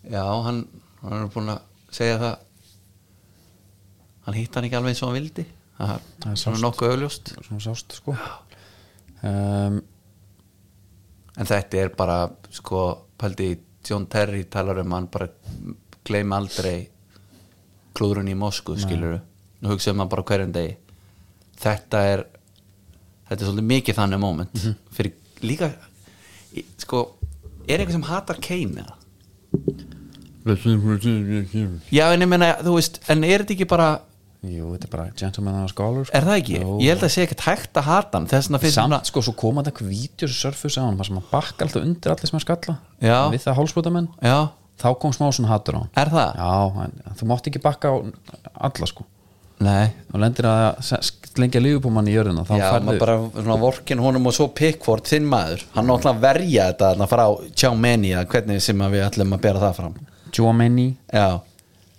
Speaker 2: Já, hann, hann er búin að segja það hann hitt hann ekki alveg eins og hann vildi það
Speaker 1: Það er
Speaker 2: er svona nokkuð auðljóst
Speaker 1: Svona sást, sko um,
Speaker 2: en þetta er bara, sko pældi, John Terry talar um að hann bara gleym aldrei klúðrun í Moskvu, skilur nú hugsaðum hann bara á hverjum degi þetta er þetta er svolítið mikið þannig moment
Speaker 1: Mhm.
Speaker 2: fyrir líka, í- sko er eitthvað sem hatar Kane eða? Já, en ég meina, þú veist, en er þetta ekki bara
Speaker 1: Jú, þetta er bara gentleman and a scholar sko.
Speaker 2: Er það ekki?
Speaker 1: Jú.
Speaker 2: Ég held að sé ekkert hægt að hata hann Þess vegna finnst
Speaker 1: Samt
Speaker 2: svona
Speaker 1: sko, svo koma þetta eitthvað vídeo sem surfus á hann sem hann bakka alltaf undir allir sem hann skalla
Speaker 2: Já.
Speaker 1: Við það hálsbútamenn
Speaker 2: Já,
Speaker 1: Þá kom smá svona hattur á hann
Speaker 2: er það?
Speaker 1: Já, en þú mátt ekki bakka á alla sko
Speaker 2: Nei
Speaker 1: og lendir að lengja lífbúmann í jörðina þá
Speaker 2: Já,
Speaker 1: færðu
Speaker 2: maður bara svona vorkin honum og svo Pickford þinn maður, hann náttúrulega verja þetta þarna frá Tjámeni eða hvernig sem að við ætlum að bera það fram
Speaker 1: Jomini
Speaker 2: Já,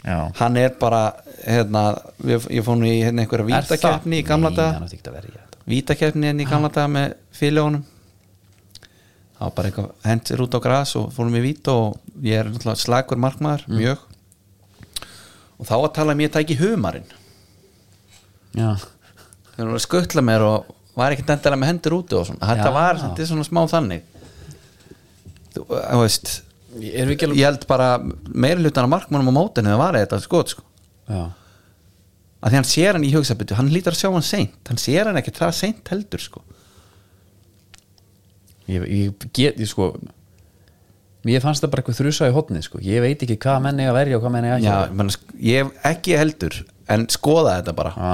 Speaker 1: Já,
Speaker 2: hann er bara hérna, við, ég fór nú í hérna einhverja vítakeppni í gamla
Speaker 1: Nei, hann
Speaker 2: daga
Speaker 1: átti ekki að verja þetta
Speaker 2: vítakeppni hérna í gamla daga með fylgjónum það var bara eitthvað hendur út á gras og fórum í vít og ég er náttúrulega slagur markmaður
Speaker 1: Mm.
Speaker 2: mjög og þá að tala um ég tæki humarinn
Speaker 1: Já,
Speaker 2: þeir voru að skuttla mér og var ekkert endilega með hendur úti og svona þetta
Speaker 1: Já.
Speaker 2: var þetta er svona smá þannig þú, eh, þú veist
Speaker 1: erum við ekki alveg
Speaker 2: ég held bara meira hlutan af markmannum á mótinu það var þetta skot sko
Speaker 1: Já,
Speaker 2: að því hann sér hann í hugsabyttu, hann lítur að sjá hann seint hann sér hann ekkert það seint heldur sko
Speaker 1: ég, ég get, ég sko Mér fannst það bara eitthvað þrjusa í hotni sko. Ég veit ekki hvað menn eiga að verja og hvað menn eiga ekki
Speaker 2: Já,
Speaker 1: að
Speaker 2: ég meina, sk- ég ekki heldur en skoða þetta bara
Speaker 1: Já.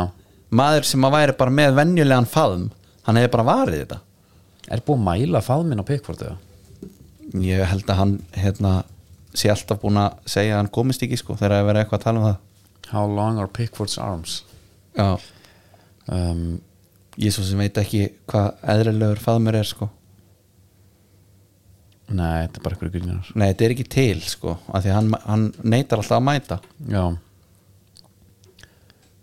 Speaker 2: maður sem að væri bara með venjulegan faðum hann hefði bara varið þetta
Speaker 1: verja Er búið að mæla faðminn á Pickford eða?
Speaker 2: ég held að hann hérna, sé alltaf búin að segja að hann komist ekki sko þegar að vera eitthvað að tala um það
Speaker 1: How long are Pickford's arms?
Speaker 2: Já
Speaker 1: Um,
Speaker 2: ég svo sem veit ekki hvað eðrilegur faðmur er sko
Speaker 1: nei, þetta er bara eitthvað gulminar
Speaker 2: nei, þetta er ekki til sko af því að hann, hann neytar alltaf að mæta
Speaker 1: Já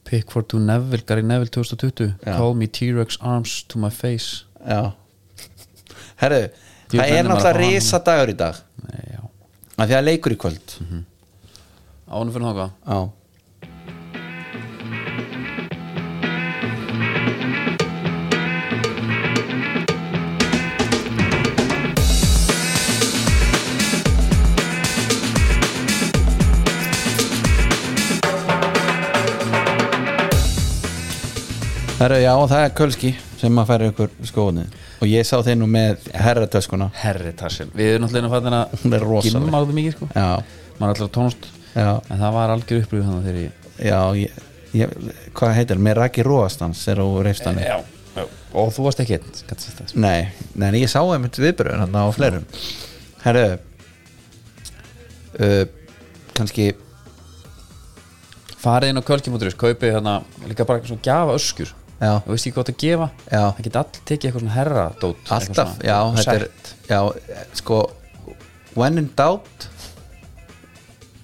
Speaker 1: Pickford to Neville, Gary Neville 2020
Speaker 2: Já.
Speaker 1: Call me T-Rex arms to my face
Speaker 2: já herru,
Speaker 1: Djú,
Speaker 2: það
Speaker 1: nennir maður að
Speaker 2: er
Speaker 1: fá
Speaker 2: náttúrulega
Speaker 1: hann.
Speaker 2: risa dagur í dag
Speaker 1: Nei, já
Speaker 2: af því að leikur í kvöld
Speaker 1: Ánum fyrir þóka
Speaker 2: já Herra, já, það er Kölski sem að færa ykkur skóðni og ég sá þeir nú með herratöskuna
Speaker 1: Herri tassin Við erum náttúrulega fatin að
Speaker 2: Hún er rosaleg.
Speaker 1: Gimmaðu mikið sko
Speaker 2: Já,
Speaker 1: Maður er alltaf tónst
Speaker 2: já,
Speaker 1: En það var algjör upplýðu þannig þegar ég
Speaker 2: já ég, ég, hvað heitir, með Raki Róastans er á reyfstani
Speaker 1: já Og þú varst ekki einn Skatt sýst það
Speaker 2: Nei, nei, en ég sá einmitt viðbröðun hann á fleirum Herru uh, Kanski
Speaker 1: Farið inn á kölkimóturis Kaupið hérna Líka bara eitthvað svona gjafa öskur
Speaker 2: Já,
Speaker 1: Þú veist ekki hvað það gefa
Speaker 2: Já.
Speaker 1: Það geti all tekið eitthvað svona herradót eitthvað
Speaker 2: alltaf
Speaker 1: svona-
Speaker 2: Já,
Speaker 1: eitthvað
Speaker 2: þetta er
Speaker 1: sætt.
Speaker 2: Já, sko When in doubt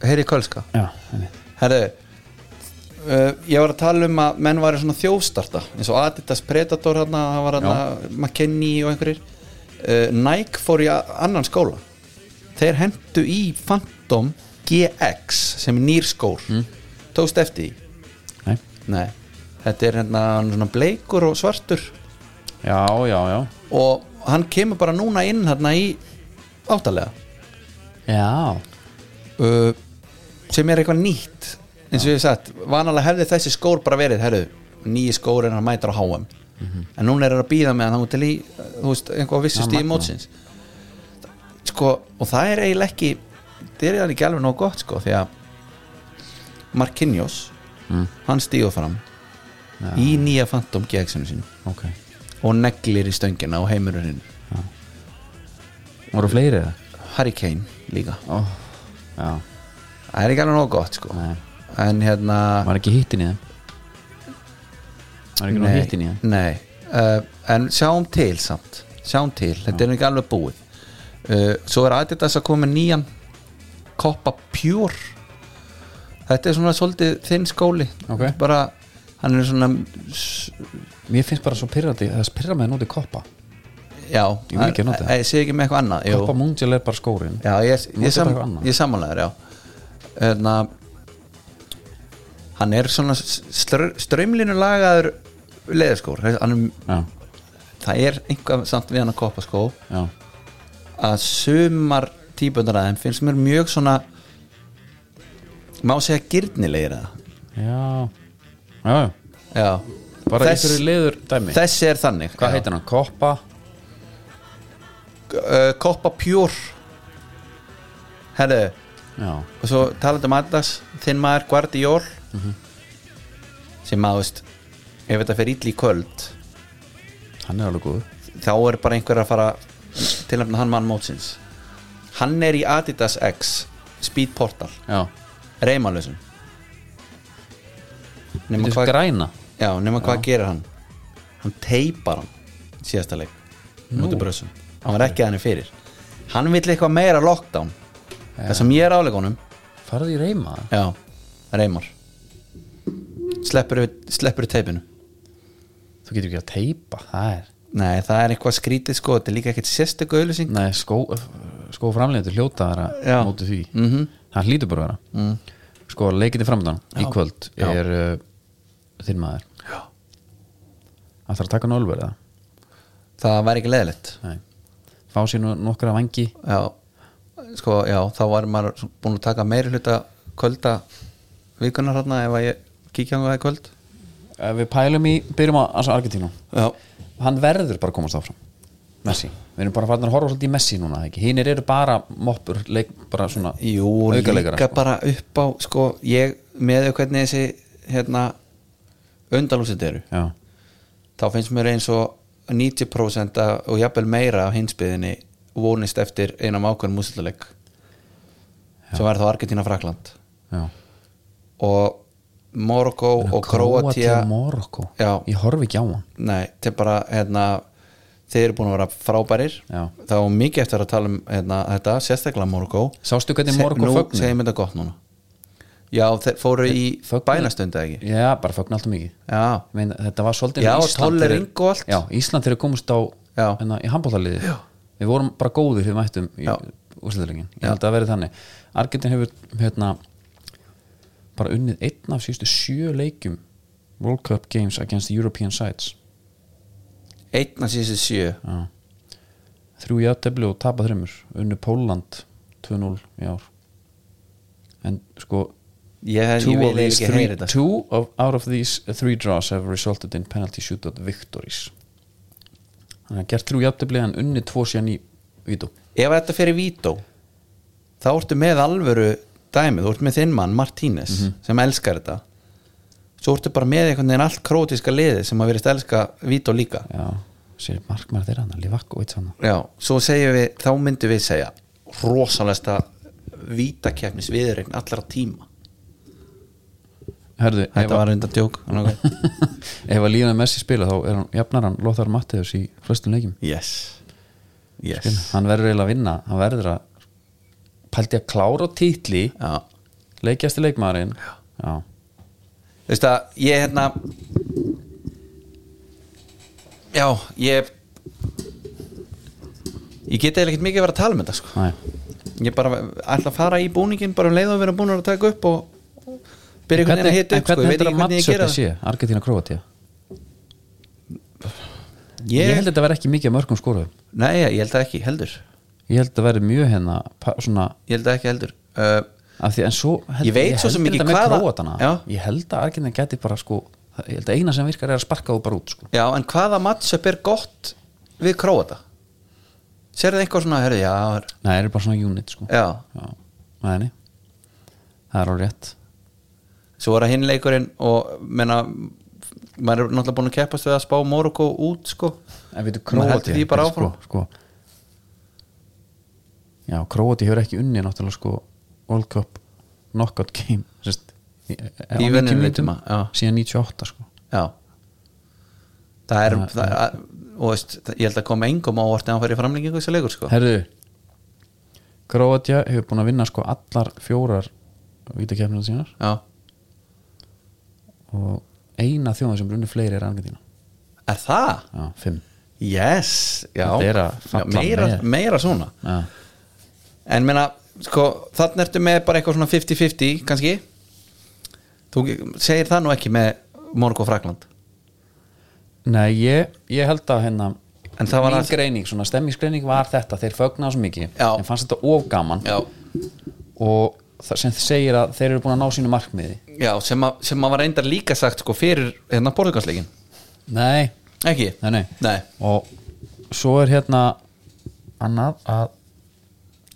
Speaker 2: Heyri Kölska
Speaker 1: Já, einmitt.
Speaker 2: Herru Uh, ég var að tala um að menn var svona þjófstarta eins og Adidas Predator hann það var hann McKennie og einhverjir uh, Nike fór í a- annan skóla þeir hendu í Phantom GX sem er nýr skór tókst eftir því
Speaker 1: Nei
Speaker 2: Nei. þetta er hérna hann er svona bleikur og svartur
Speaker 1: Já, já, já
Speaker 2: og hann kemur bara núna inn hérna í áttalega
Speaker 1: Já
Speaker 2: uh, sem er eitthvað nýtt eins og ég hef sagt, vanalega hefði þessi skór bara verið, herru, nýji skór en hann mætir á HM en núna er það að býða með hann þá til í, uh, þú veist, einhvað vissu
Speaker 1: Já,
Speaker 2: stíði
Speaker 1: magnað.
Speaker 2: mótsins sko, og það er eiginlega ekki það er það ekki alveg nóg gott, sko, því að Marquinhos, hann stíður fram í nýja Phantom GX-inu sínu
Speaker 1: ok
Speaker 2: og neglir í stöngina og heimurinn
Speaker 1: Voru fleiri eða?
Speaker 2: Hurricane líka
Speaker 1: Oh. Já,
Speaker 2: það er ekki alveg nóg gott sko
Speaker 1: Nei.
Speaker 2: en hérna
Speaker 1: var ekki hittin í þeim Var ekki nóg hittin í þeim
Speaker 2: nei uh, en sjáum til samt sjáum til, þetta er ekki alveg búið uh, svo er Adidas að koma með nýjan Copa Pure þetta er svona svolítið þinn skóli
Speaker 1: Ok.
Speaker 2: bara, hann er svona s-
Speaker 1: Mér finnst bara svo pyrrandi, það spyrra með nóti koppa
Speaker 2: já,
Speaker 1: Ég vil ekki nota það.
Speaker 2: Eh, ég segi ekki með eitthvað annað jú.
Speaker 1: Koppa mungjel er bara skórin
Speaker 2: Já, ég, ég,
Speaker 1: Notar
Speaker 2: sam,
Speaker 1: eitthvað annað.
Speaker 2: ég samanlegar, já Þannig Hann er svona str strömlinu lagaður leðurskór hann, er-
Speaker 1: Já,
Speaker 2: Það er einhvað samt við hann að koppa skó
Speaker 1: já,
Speaker 2: að sumar típundar að þeim finnst mér mjög svona má segja gyrnilegir að
Speaker 1: já Já, já
Speaker 2: Já
Speaker 1: Bara
Speaker 2: Þess-
Speaker 1: einhverju liður dæmi
Speaker 2: Þessi er þannig
Speaker 1: Hvað heitir hann? Koppa
Speaker 2: Uh, koppa pjór Herðu
Speaker 1: Já,
Speaker 2: og svo talandi um Adidas þinn maður Guardiol
Speaker 1: Mhm.
Speaker 2: sem að veist ef þetta fer illa í kvöld
Speaker 1: hann er alveg góð
Speaker 2: þá er bara einhver að fara til nefna hann mann mótsins hann er í Adidas X Speed Portal,
Speaker 1: Já,
Speaker 2: reymanlausum nema
Speaker 1: þetta er
Speaker 2: hvað
Speaker 1: græna
Speaker 2: já, nema hvað gerir hann hann teipar hann í síðasta leik mútið brössum, hann var ekki að henni fyrir hann vill eitthvað meira lockdown það sem ég er áleikunum
Speaker 1: Farði í reyma það?
Speaker 2: Já, reymar Sleppur yfir- Sleppur í teipinu
Speaker 1: Þú getur ekki að teipa, það er
Speaker 2: Nei, það er eitthvað skrítið sko Þetta er líka ekkert sérstök auðlýsing
Speaker 1: Nei, skó, skó framleitur hljóta þar
Speaker 2: Já.
Speaker 1: að móti því
Speaker 2: Mhm,
Speaker 1: -hmm. Hann hlýtur bara að vera Sko, leikindi framdann í kvöld
Speaker 2: Já.
Speaker 1: er uh, þinn maður
Speaker 2: Já.
Speaker 1: Hann þarf að taka nálverða
Speaker 2: Það væri ekki leðilegt
Speaker 1: Nei. Fá sér nú nokkra vangi
Speaker 2: Já, sko, já, þá var maður svo- búinn að taka meiri hluta Kvölda vikunar hérna Ef að ég kíkja hann það í kvöld
Speaker 1: Eh, Við pælum í, byrjum á altså, Argentínu
Speaker 2: Já,
Speaker 1: Hann verður bara að komast áfram Messi, við erum bara farin að horfa svolítið í Messi núna eða ekki? Hinnir eru bara moppur leik, bara svona
Speaker 2: Jú,
Speaker 1: aukaleikara,
Speaker 2: líka
Speaker 1: sko.
Speaker 2: bara upp á Sko, ég með þau hvernig þessi Hérna, undalúsið eru
Speaker 1: Já,
Speaker 2: þá finnst mér eins og 90% af- og jafnvel meira af hinsbyðinni vonist eftir einam ákveðin músilluleik sem var þá Argentina Frakland
Speaker 1: já
Speaker 2: og Morocco og Kroatia
Speaker 1: Morokko,
Speaker 2: Já.
Speaker 1: ég horfi ekki á hann
Speaker 2: nei, þetta er bara hérna, þeir eru búin að vera frábærir
Speaker 1: Já.
Speaker 2: þá er mikið eftir að tala um hérna, þetta, sérstaklega Morocco
Speaker 1: Sástu hvernig
Speaker 2: Se-
Speaker 1: Morokko
Speaker 2: nú
Speaker 1: fögnu?
Speaker 2: segjum þetta gott núna já, þeir fóru í
Speaker 1: fögnuðu-
Speaker 2: bænastundi ekki
Speaker 1: Já, bara fögnu alltaf mikið
Speaker 2: já,
Speaker 1: Ég meina, þetta var svolítið
Speaker 2: Já,
Speaker 1: eins og
Speaker 2: og tolerink og allt.
Speaker 1: já, Ísland þegar komust á
Speaker 2: Já.
Speaker 1: hérna, í handbóltaliði við vorum bara góðir þegar við mættum í
Speaker 2: Já.
Speaker 1: úrsliturlingin ég held að það verið þannig Argentin hefur hérna, bara unnið einn af síðustu sjö leikjum World Cup Games against the European sides
Speaker 2: einn að síðan sjö
Speaker 1: þrjú í aðtefli og tapa þreymur unnu Póland 2-0 í ár en sko
Speaker 2: ég, ég
Speaker 1: two
Speaker 2: vil
Speaker 1: of,
Speaker 2: eiginlega
Speaker 1: these
Speaker 2: ekki heyra
Speaker 1: three,
Speaker 2: þetta
Speaker 1: two of out of these three draws have resulted in penalty shootout victories hann har gert þrjú jafntefli en unni tvo síðan í vítu
Speaker 2: ef þetta fyrir Vító þá ertu með alvöru dæmið, þú ert með þinn mann Martínez
Speaker 1: Mhm.
Speaker 2: sem elskar þetta svo ertu bara með einhvern veginn allt krótiska liði sem að verist elska Vító líka
Speaker 1: já, sér markmaður þeirra hann Livakovic hann
Speaker 2: já, svo segjum við, þá myndum við segja rosalegsta vítakefnis viðreikn allra tíma
Speaker 1: herðu, ef,
Speaker 2: þetta var
Speaker 1: var...
Speaker 2: reynda djók en ok.
Speaker 1: ef að Líðan Messi spila þá er hann jafnar hann Lothar Matteus í flestum leikjum
Speaker 2: yes yes
Speaker 1: hann verður eiginlega að vinna hann verður að pælti að klára á títli
Speaker 2: já.
Speaker 1: leikjast í leikmaðurinn já,
Speaker 2: þú veist að ég hérna já, ég ég get eða ekkert mikið að vera að tala um þetta sko
Speaker 1: næ,
Speaker 2: ég bara ætla að fara í búningin bara um leið og vera búin að taka upp og byrja einhvern veginn að hita
Speaker 1: en
Speaker 2: upp sko,
Speaker 1: hvernig
Speaker 2: ég veit
Speaker 1: heldur að
Speaker 2: ekki hvernig ég
Speaker 1: mattsöfni
Speaker 2: gera það
Speaker 1: sé Argentina-Kroatia ég... held að
Speaker 2: ég,
Speaker 1: þetta verði ekki mikið af mörgum skoruðum
Speaker 2: nei, ég held að ekki heldur ég
Speaker 1: ég held að verði mjög hérna pa- svona,
Speaker 2: held að ekki heldur uh,
Speaker 1: af því en svo held,
Speaker 2: Ég veit svo sem
Speaker 1: held
Speaker 2: ekki
Speaker 1: þetta með
Speaker 2: hvaða-
Speaker 1: Króatana.
Speaker 2: Já.
Speaker 1: ég held að Argentina geti bara sko ég held að eina sem virkar er að sparka þú bara út sko.
Speaker 2: já, en hvaða mattsöp er gott við króata sér það eitthvað svona, herri, já, er,
Speaker 1: nei, það eru bara svona unit sko.
Speaker 2: já
Speaker 1: Já. Nei, nei. það er alveg rétt
Speaker 2: svo var það hinn leikurinn og menna maður er náttúrulega búin að keppast við að spá Morocco út sko
Speaker 1: En veitu,
Speaker 2: Maður heldur
Speaker 1: Króati
Speaker 2: því bara áfram.
Speaker 1: sko, sko. Já, Króati hefur ekki unni náttúrulega sko World Cup knockout game sérst, í, á 90
Speaker 2: venjulegum
Speaker 1: mínútum,
Speaker 2: tíma, já.
Speaker 1: síðan 98 sko
Speaker 2: já það er,
Speaker 1: Ja,
Speaker 2: það, að, og veist það- ég held að koma engum ávart en hann fær í framlengingu þessi leikur sko
Speaker 1: Herðu Króatja hefur búin að vinna sko allar fjórar vítakefnina sínar
Speaker 2: já,
Speaker 1: og eina þjóðan sem brunni fleiri er Argentina
Speaker 2: er það?
Speaker 1: Já, fimm
Speaker 2: yes, já,
Speaker 1: Þetta er að
Speaker 2: já
Speaker 1: falla
Speaker 2: meira,
Speaker 1: með.
Speaker 2: meira svona
Speaker 1: Já,
Speaker 2: en meina, sko, þannig ertu með bara eitthvað svona 50-50 kannski þú segir það nú ekki með Morocco og Frakland
Speaker 1: Nei, ég, ég held að hérna
Speaker 2: En það var
Speaker 1: mín
Speaker 2: að-
Speaker 1: greining, svona stemmingsgreining var þetta þeir fögnaðu svo mikið,
Speaker 2: Já.
Speaker 1: en fannst þetta of gaman
Speaker 2: já,
Speaker 1: og það sem segir að þeir eru búin að ná sínu markmiði
Speaker 2: já sem, að, sem að var reyndar líka sagt sko fyrir hérna portugalsleikin
Speaker 1: Nei,
Speaker 2: ekki?
Speaker 1: nei, nei,
Speaker 2: Nei.
Speaker 1: og svo er hérna annað að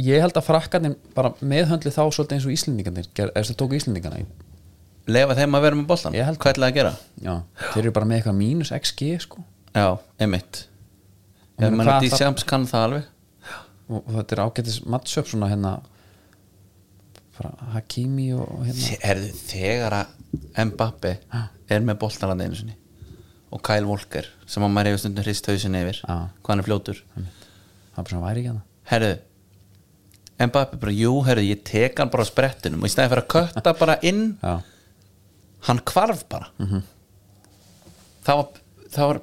Speaker 1: ég held að frakkarnir bara meðhöndli þá svolítið eins og Íslendingarnir ger- eða þess að tóku Íslendingarna í.
Speaker 2: lefa þeim að vera með boltan
Speaker 1: Ég held
Speaker 2: hvað ætlaði að gera?
Speaker 1: Já, þeir eru bara með eitthvað mínus XG sko
Speaker 2: já, emitt
Speaker 1: En
Speaker 2: ég menn
Speaker 1: hvað
Speaker 2: að
Speaker 1: það-
Speaker 2: D-Champs kann það alveg
Speaker 1: og, og þetta er ágætis mattsöp svona hérna bara Hakimi og og hérna
Speaker 2: Þe- Herðu, þegar að Mbappe
Speaker 1: Ha.
Speaker 2: er með boltarandi einu sinni og Kyle Walker sem að maður hefur stundum hrist hausin yfir
Speaker 1: Já.
Speaker 2: hvað hann er fljótur
Speaker 1: það er bara svona væri ekki hérna
Speaker 2: herðu Mbappe bara, jú, herðu, ég tek hann bara á sprettunum og í stæði fyrir að kötta bara inn
Speaker 1: Já,
Speaker 2: hann kvarf bara það var það var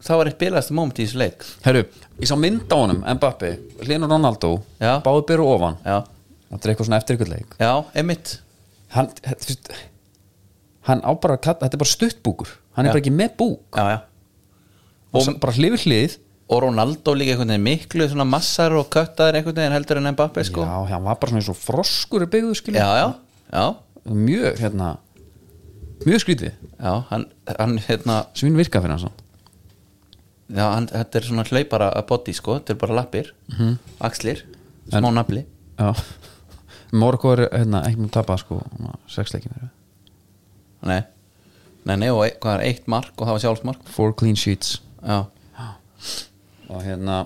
Speaker 2: það var eitt bilaðasta moment í þessu leik
Speaker 1: herru, ég sá mynd á honum Mbappi, Lino Ronaldo
Speaker 2: Já.
Speaker 1: báðu byrju ofan
Speaker 2: já,
Speaker 1: þetta er eitthvað svona eftir ykkur leik
Speaker 2: já, emitt
Speaker 1: hann, þetta, þú veist, hann á bara að kalla, þetta er bara stuttbúkur hann
Speaker 2: Já.
Speaker 1: er bara ekki með búk
Speaker 2: já, já.
Speaker 1: og s- bara hlifir hlið
Speaker 2: og Ronaldo líka einhvern veginn miklu svona massar og köttaðir einhvern veginn heldur en Mbappe sko
Speaker 1: já, hann var bara svona eins og froskur er byggðu skilja
Speaker 2: já, já, já,
Speaker 1: mjög, hérna mjög skrítið,
Speaker 2: já hann, hann, hérna,
Speaker 1: svín virka fyrir hann samt.
Speaker 2: já, hann þetta er svona hlaupara að body sko, þetta er bara lappir axlir, smá
Speaker 1: En-
Speaker 2: nafli
Speaker 1: já Morgo er hérna, ekki með tapa sko sexleikin eru
Speaker 2: nei, nei, nei og e hvað er eitt mark og það var sjálfsmark
Speaker 1: four clean sheets
Speaker 2: já,
Speaker 1: og hérna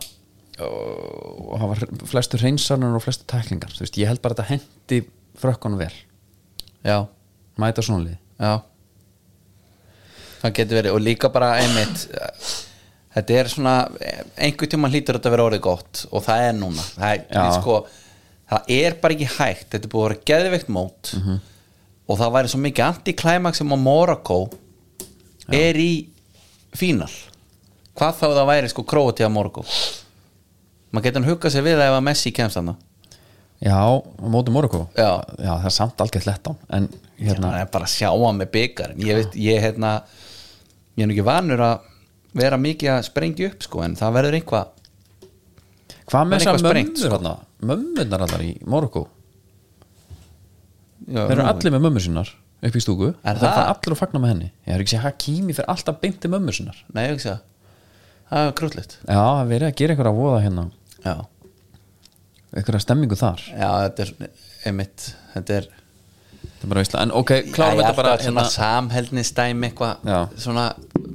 Speaker 1: og og hafa hre- flestu hreinsanar og flestu tæklingar þú veist, ég held bara að þetta hendi frökkunum vel
Speaker 2: já,
Speaker 1: mæta svona lið
Speaker 2: já það getur verið og líka bara einmitt þetta er svona, einhver tíma hlýtur þetta að vera orðið gott og það er núna það er,
Speaker 1: Já.
Speaker 2: sko, það er bara ekki hægt þetta er búið að vera geðveikt mót og það væri svo mikið antiklæmak sem að Morocco er í fínal hvað þá það væri sko Króatíða Morocco maður getur hann huggað sér við að ef að Messi kemst hann
Speaker 1: já, á móti Morgo
Speaker 2: Já.
Speaker 1: það er samt algjörð lett á en hérna,
Speaker 2: það er bara að sjá hann með byggarinn ég veit, ég hérna ég er nú ekki vanur að vera mikið að sprengja upp sko, en það verður einhvað
Speaker 1: hvað
Speaker 2: en
Speaker 1: með þess
Speaker 2: eitthvað
Speaker 1: að
Speaker 2: sprengt, sko.
Speaker 1: mömmur hérna, mömmunar allar í Morgo
Speaker 2: já,
Speaker 1: þeir eru allir með mömmur sínar upp í stúku
Speaker 2: Er
Speaker 1: það er
Speaker 2: það?
Speaker 1: allir að fagna með henni ég er ekki að segja Hakimi fyrir alltaf beinti mömmur sínar
Speaker 2: nei, ég hugsa það er krúllett
Speaker 1: já, það er verið að gera einhverja voða hérna
Speaker 2: já,
Speaker 1: einhverja stemmingu þar
Speaker 2: já, þetta er einmitt þetta er
Speaker 1: það er bara veistla, en ok, klárum
Speaker 2: Já, ég
Speaker 1: þetta bara hérna.
Speaker 2: alltaf svona samheldnistæmi eitthvað
Speaker 1: Já.
Speaker 2: svona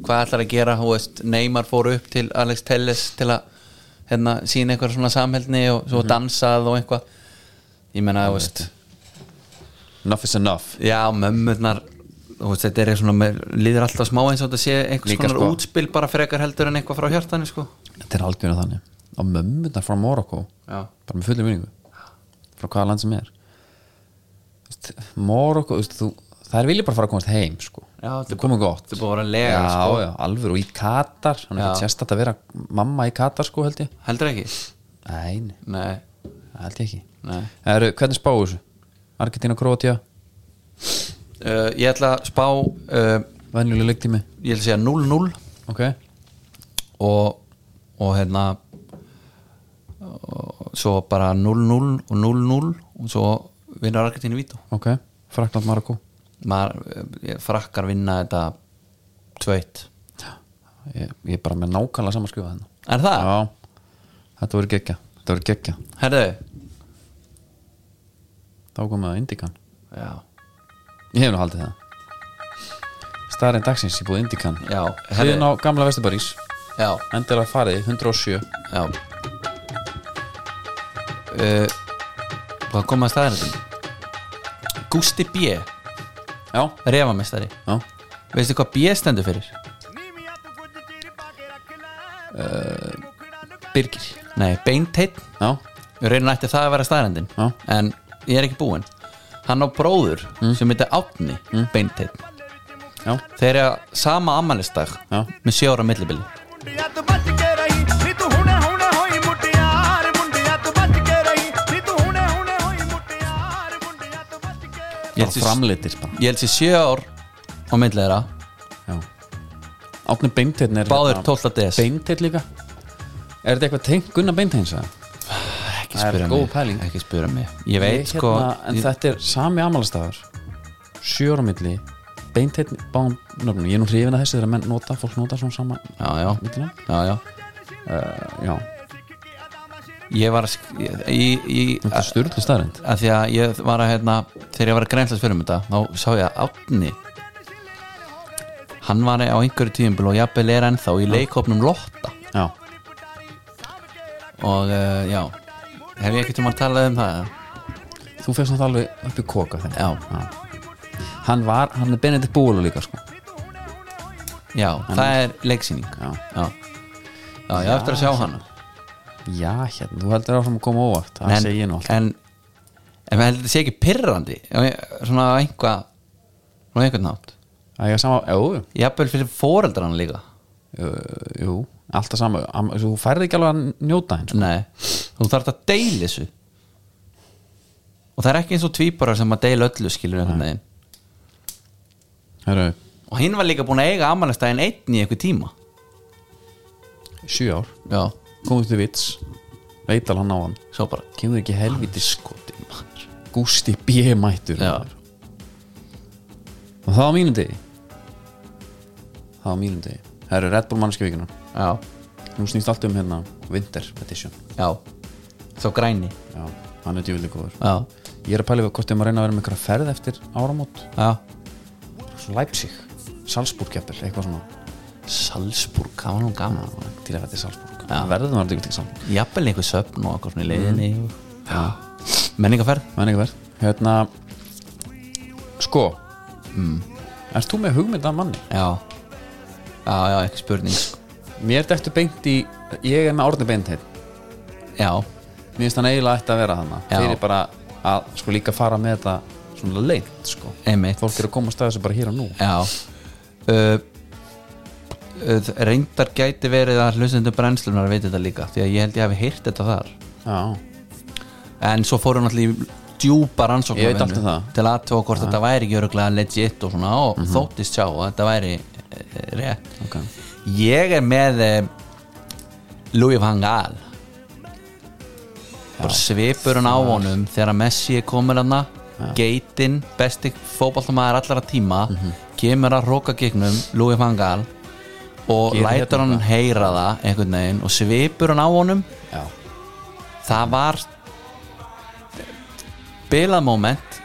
Speaker 2: hvað ætlar að gera hú veist Neymar fór upp til Alex Telles til að hérna sína eitthvað svona samheldni og
Speaker 1: Mhm.
Speaker 2: svo dansað og eitthvað ég menna þú veist
Speaker 1: enough is enough
Speaker 2: Já, mömmurnar þú veist, þetta er eitthvað svona, með, líður alltaf smá eins og þetta sé einhvers
Speaker 1: Líka,
Speaker 2: konar
Speaker 1: sko.
Speaker 2: útspil bara frekar heldur en eitthvað frá hjartani sko.
Speaker 1: þetta er algjörna þannig og mömmunar frá Morocco
Speaker 2: Já.
Speaker 1: bara með fullu vinningu frá hvaða land sem er Þú veist, Morocco, þú veist, þú, það er vilja bara fara að komast heim sko.
Speaker 2: Já, þetta er
Speaker 1: er komið gott
Speaker 2: þetta er búið að vera lega,
Speaker 1: já,
Speaker 2: sko.
Speaker 1: já, alveg og í Katar hann er
Speaker 2: Já.
Speaker 1: ekki sérstætt að vera mamma í Katar sko held ég
Speaker 2: heldur ekki?
Speaker 1: nei, nei,
Speaker 2: Nei,
Speaker 1: það held ég ekki
Speaker 2: Nei.
Speaker 1: Heru, hvernig spáðu þessu? Argentina, Kroatia,
Speaker 2: uh, ég ætla að spá uh,
Speaker 1: venjuleg leiktími
Speaker 2: ég ætla að segja 0-0
Speaker 1: ok,
Speaker 2: og, og hérna og svo bara 0-0 og 0-0 og svo vinnar Argentínu Vító
Speaker 1: ok, Frakland, Marokko
Speaker 2: maður, ég frakkar vinna þetta 2-1
Speaker 1: ég, ég er bara með nákvæmlega saman skrifa þennan
Speaker 2: Er það?
Speaker 1: já, þetta voru geggja þetta voru geggja,
Speaker 2: Herðu?
Speaker 1: þá komum við að Indikan
Speaker 2: Já,
Speaker 1: Ég hef nú haldið það Starinn dagsins í búið Indikan
Speaker 2: Já,
Speaker 1: Hliðin á gamla Vesturbarís
Speaker 2: já,
Speaker 1: Endilega farið, 107
Speaker 2: já uh, Hvað kom að staðinu til? Gústi B
Speaker 1: Já,
Speaker 2: Refamestari
Speaker 1: já
Speaker 2: Veistu hvað B stendur fyrir? Birgir Nei, Beinteinn
Speaker 1: Já,
Speaker 2: Við reynum ætti það að vera staðrendin
Speaker 1: Já.
Speaker 2: En ég er ekki búinn Hann á bróður sem heitir Átni mm. Beinteinn
Speaker 1: já,
Speaker 2: Þeir eru á sama ammælistag
Speaker 1: Já.
Speaker 2: Með sjö ára millibili
Speaker 4: ਮੁੰਡਿਆ ਤੂੰ ਬਚ ਕੇ ਰਹੀ ਨੀ ਤੂੰ ਹੁਣੇ ਹੁਣੇ ਹੋਈ ਮੁਟਿਆਰ ਮੁੰਡਿਆ ਤੂੰ ਬਚ ਕੇ ਰਹੀ ਨੀ ਤੂੰ ਹੁਣੇ ਹੁਣੇ ਹੋਈ ਮੁਟਿਆਰ ਮੁੰਡਿਆ ਤੂੰ ਬਚ ਕੇ
Speaker 1: bara
Speaker 2: Ég held sér-
Speaker 1: framleitir bara
Speaker 2: ég held sér sjö ár á milli þeirra
Speaker 1: Já Átni Beinteinn er hérna
Speaker 2: Báðir 12. DS
Speaker 1: Beinteinn líka Er þetta eitthvað tengt Gunnar Beinteins eða?
Speaker 2: Ekki
Speaker 1: Það er
Speaker 2: spyrja
Speaker 1: góð
Speaker 2: mig,
Speaker 1: pæling.
Speaker 2: Ekki spyrja mig Ég veit
Speaker 1: Ég hérna,
Speaker 2: sko
Speaker 1: En
Speaker 2: ég,
Speaker 1: þetta er sami amalastafur Sjóra milli Beinteinn báðum nöfnum Ég er nú hrifin að þessu þegar menn nota Fólk nota svona sama
Speaker 2: Já, já,
Speaker 1: millina
Speaker 2: já, já
Speaker 1: Já,
Speaker 2: Ég var að sk- ég, ég, ég,
Speaker 1: þetta er
Speaker 2: að,
Speaker 1: styrlu staðrind
Speaker 2: að Því að ég var að hérna Þegar ég var að grænslast fyrir um þetta Þá sá ég að Átni Hann var á einhverju tíðumbil Og jafnvel er ennþá í leikopnum Lotta
Speaker 1: Já,
Speaker 2: Og uh, já Hef ég ekkert um að tala um það eða?
Speaker 1: þú fegst náttúrulega alveg upp í koka þeim
Speaker 2: Já.
Speaker 1: Hann var, hann er Benedikt Búlu líka sko
Speaker 2: Já, það er leiksýning
Speaker 1: Já.
Speaker 2: já, já ég á eftir að sjá hana
Speaker 1: Já, hérna, þú heldur áfram að koma óvart Það
Speaker 2: en,
Speaker 1: segi ég nú alltaf
Speaker 2: en, en maður heldur þetta sé ekki pirrandi já, svona á einhvað svona á einhvern nátt
Speaker 1: Það er sama, jú,
Speaker 2: jafnvel fyrir foreldrana líka
Speaker 1: jú, jú Alltaf sama, am- þú færði ekki alveg að njóta henn sko.
Speaker 2: nei, þú þarf að deila þessu og það er ekki eins og tvíbarar sem að deila öllu skilur einhvern veginn
Speaker 1: Herru,
Speaker 2: og hinn var líka búin að eiga amalastæðin einn í einhver tíma
Speaker 1: sjö ár,
Speaker 2: já,
Speaker 1: komið til vits Veital hann á hann
Speaker 2: svo bara
Speaker 1: Kemur ekki helviti
Speaker 2: skoti maður
Speaker 1: Gústi B. mættur
Speaker 2: já,
Speaker 1: maður. Og það á mínum degi Það á mínum degi Herru, Red Bull mannskjöfíkina
Speaker 2: já,
Speaker 1: Nú snýst allt um hérna Winter Edition
Speaker 2: já svo græni
Speaker 1: Já, hann er djúvillig góður
Speaker 2: já,
Speaker 1: Ég er að pæla við hvort ég maður reyna að vera með einhverja ferð eftir áramót
Speaker 2: já
Speaker 1: Svo Leipzig, Salzburg jafnvel, eitthvað svona
Speaker 2: Salzburg, það var nú gaman
Speaker 1: Já, Til að vera til Salzburg
Speaker 2: Já.
Speaker 1: Verðum að vera til Salzburg
Speaker 2: jafnvel einhver söfn og eitthvað svona í leiðinni já. menningarferð
Speaker 1: Menn ekki verð Hérna Sko mm. Erst þú með hugmynd að manni?
Speaker 2: já, já, já, ekki spurning sko.
Speaker 1: Mér er þetta beint í Ég er með Árni Beinteinn
Speaker 2: já,
Speaker 1: Mér finnst hann eiginlega ætti að vera þannig
Speaker 2: Já.
Speaker 1: Fyrir bara að sko líka fara með þetta Svona leint sko
Speaker 2: einmitt
Speaker 1: Fólk er að koma að staða þessu bara hér og nú
Speaker 2: já uh, uh, reyndar gæti verið að hlustendur brennslunar veit þetta líka því að ég held ég hafi heyrt þetta þar
Speaker 1: Já,
Speaker 2: en svo fórum allir djúpa rannsóknarvinnu
Speaker 1: Ég veit allt um það. Mhm.
Speaker 2: til aðtóa hvort þetta væri ekki öruglega legit og svona og þóttist sjá að þetta væri eh, rétt
Speaker 1: ok
Speaker 2: ég er með eh, Louis van Gaal bara svipurinn á honum þegar Messi er komin hann geitin, besti fótballtamaður allara tíma,
Speaker 1: Mhm.
Speaker 2: kemur að róka gegnum Louis van Gaal og
Speaker 1: Gerir hérna
Speaker 2: lætur hann
Speaker 1: eitthvað.
Speaker 2: heyra það einhvern veginn og svipurinn á honum
Speaker 1: Já,
Speaker 2: það var bilað moment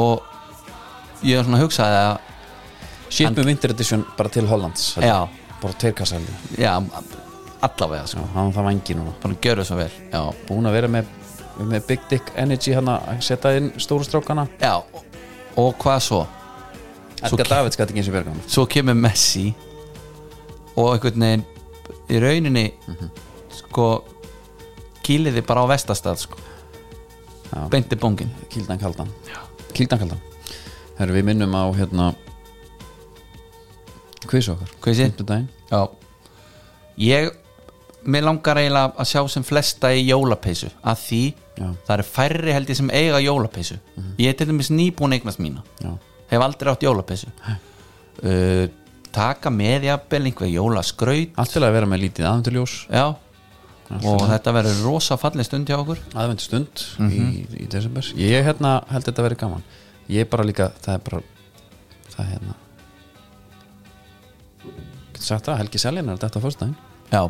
Speaker 2: og ég var svona að hugsa að
Speaker 1: Shipum Winter Edition bara til Hollands held ég.
Speaker 2: Já.
Speaker 1: Bara teirkassaldi
Speaker 2: já, allavega
Speaker 1: Já,
Speaker 2: sko,
Speaker 1: hann sko. það vangi núna
Speaker 2: bara gjörðu svo vel já,
Speaker 1: Búin að vera með, með Big Dick Energy hann að setja inn stóru strákana
Speaker 2: já, og hvað svo Svo
Speaker 1: Edgar Davids gæti ekki eins og björgum
Speaker 2: svo kemur Messi og einhvern veginn í rauninni
Speaker 1: Mhm.
Speaker 2: sko kýliði bara á vestastað sko.
Speaker 1: Já.
Speaker 2: beinti bóngin
Speaker 1: Kildan kaldan Kildan kaldan Herru, við minnum á hérna Quiz okkar
Speaker 2: Quizið?
Speaker 1: Fimmtudaginn.
Speaker 2: já. ég mér langar eiginlega að sjá sem flesta í jólapeysu að því
Speaker 1: Já. Mhm.
Speaker 2: það eru færri held ég sem eiga jólapeysu ég er til dæmis nýbúin eignast mína
Speaker 1: Já.
Speaker 2: hef aldrei átt jólapeysu uh, taka með jafnvel einhver jólaskraut
Speaker 1: Allt til að vera með lítið aðvenduljós
Speaker 2: já og þetta verður rosa fallið stund hjá okkur
Speaker 1: Aðvendustund í, í desember Ég hérna held þetta að vera gaman Ég bara líka, það er bara Það er hérna Getur sagt það, Helgi Seljan er þetta fyrstæðin
Speaker 2: já,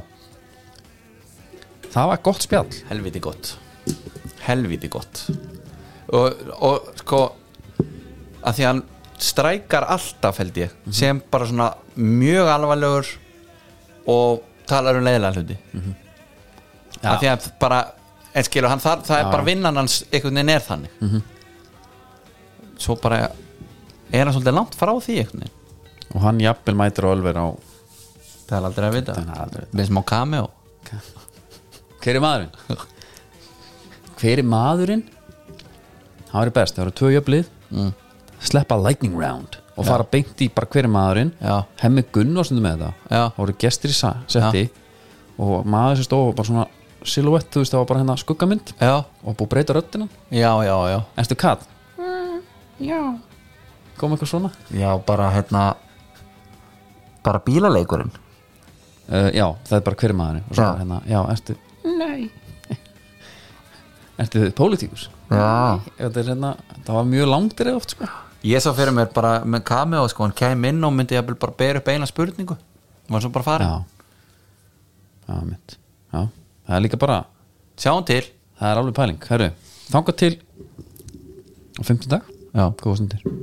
Speaker 1: Það var gott spjall
Speaker 2: helviti gott helviti gott og, og sko að því að strækar alltaf held ég sem bara svona mjög alvarlegur og talar um leiðilega hluti af því að bara en skilur, hann þar, það er bara vinnan hans einhvern veginn er þannig svo bara er hann svolítið langt frá því einhvern veginn
Speaker 1: og hann jafnvel mætir og ölver á
Speaker 2: það er aldrei að vita
Speaker 1: Það er aldrei að
Speaker 2: við smá cameo
Speaker 1: hver er maðurinn? hver er maðurinn? það verður best, það verður tvö jöflið mm. sleppa lightning round og fara beint í bara hver er maðurinn
Speaker 2: Já.
Speaker 1: hemmi Gunn og stundum með þetta
Speaker 2: Já.
Speaker 1: það voru gestir í sa- setti og maður sem stóð bara svona silhouette, þú veist það var bara hérna skuggamynd
Speaker 2: já,
Speaker 1: og búið að breyta röddina
Speaker 2: já, já, já
Speaker 1: Erstu katt? Mm, já Kom eitthvað svona?
Speaker 2: já, bara hérna bara bílaleikurinn
Speaker 1: Uh, já, það er bara hverju maðurinn og svo
Speaker 2: Já.
Speaker 1: hérna, já, ertu Nei Ertu þið pólitíkus?
Speaker 2: já
Speaker 1: Þetta er hérna, það var mjög langt er oft sko
Speaker 2: Ég sá fyrir mér bara með cameo sko, hann kæm inn og myndi jafnvel bara bera upp eina spurningu og var svo bara farin
Speaker 1: Já Já, mitt Já, það er líka bara,
Speaker 2: Sjáum til
Speaker 1: það er alveg pæling Herru, þangað til á 15 dag
Speaker 2: Já.
Speaker 1: Góða stundir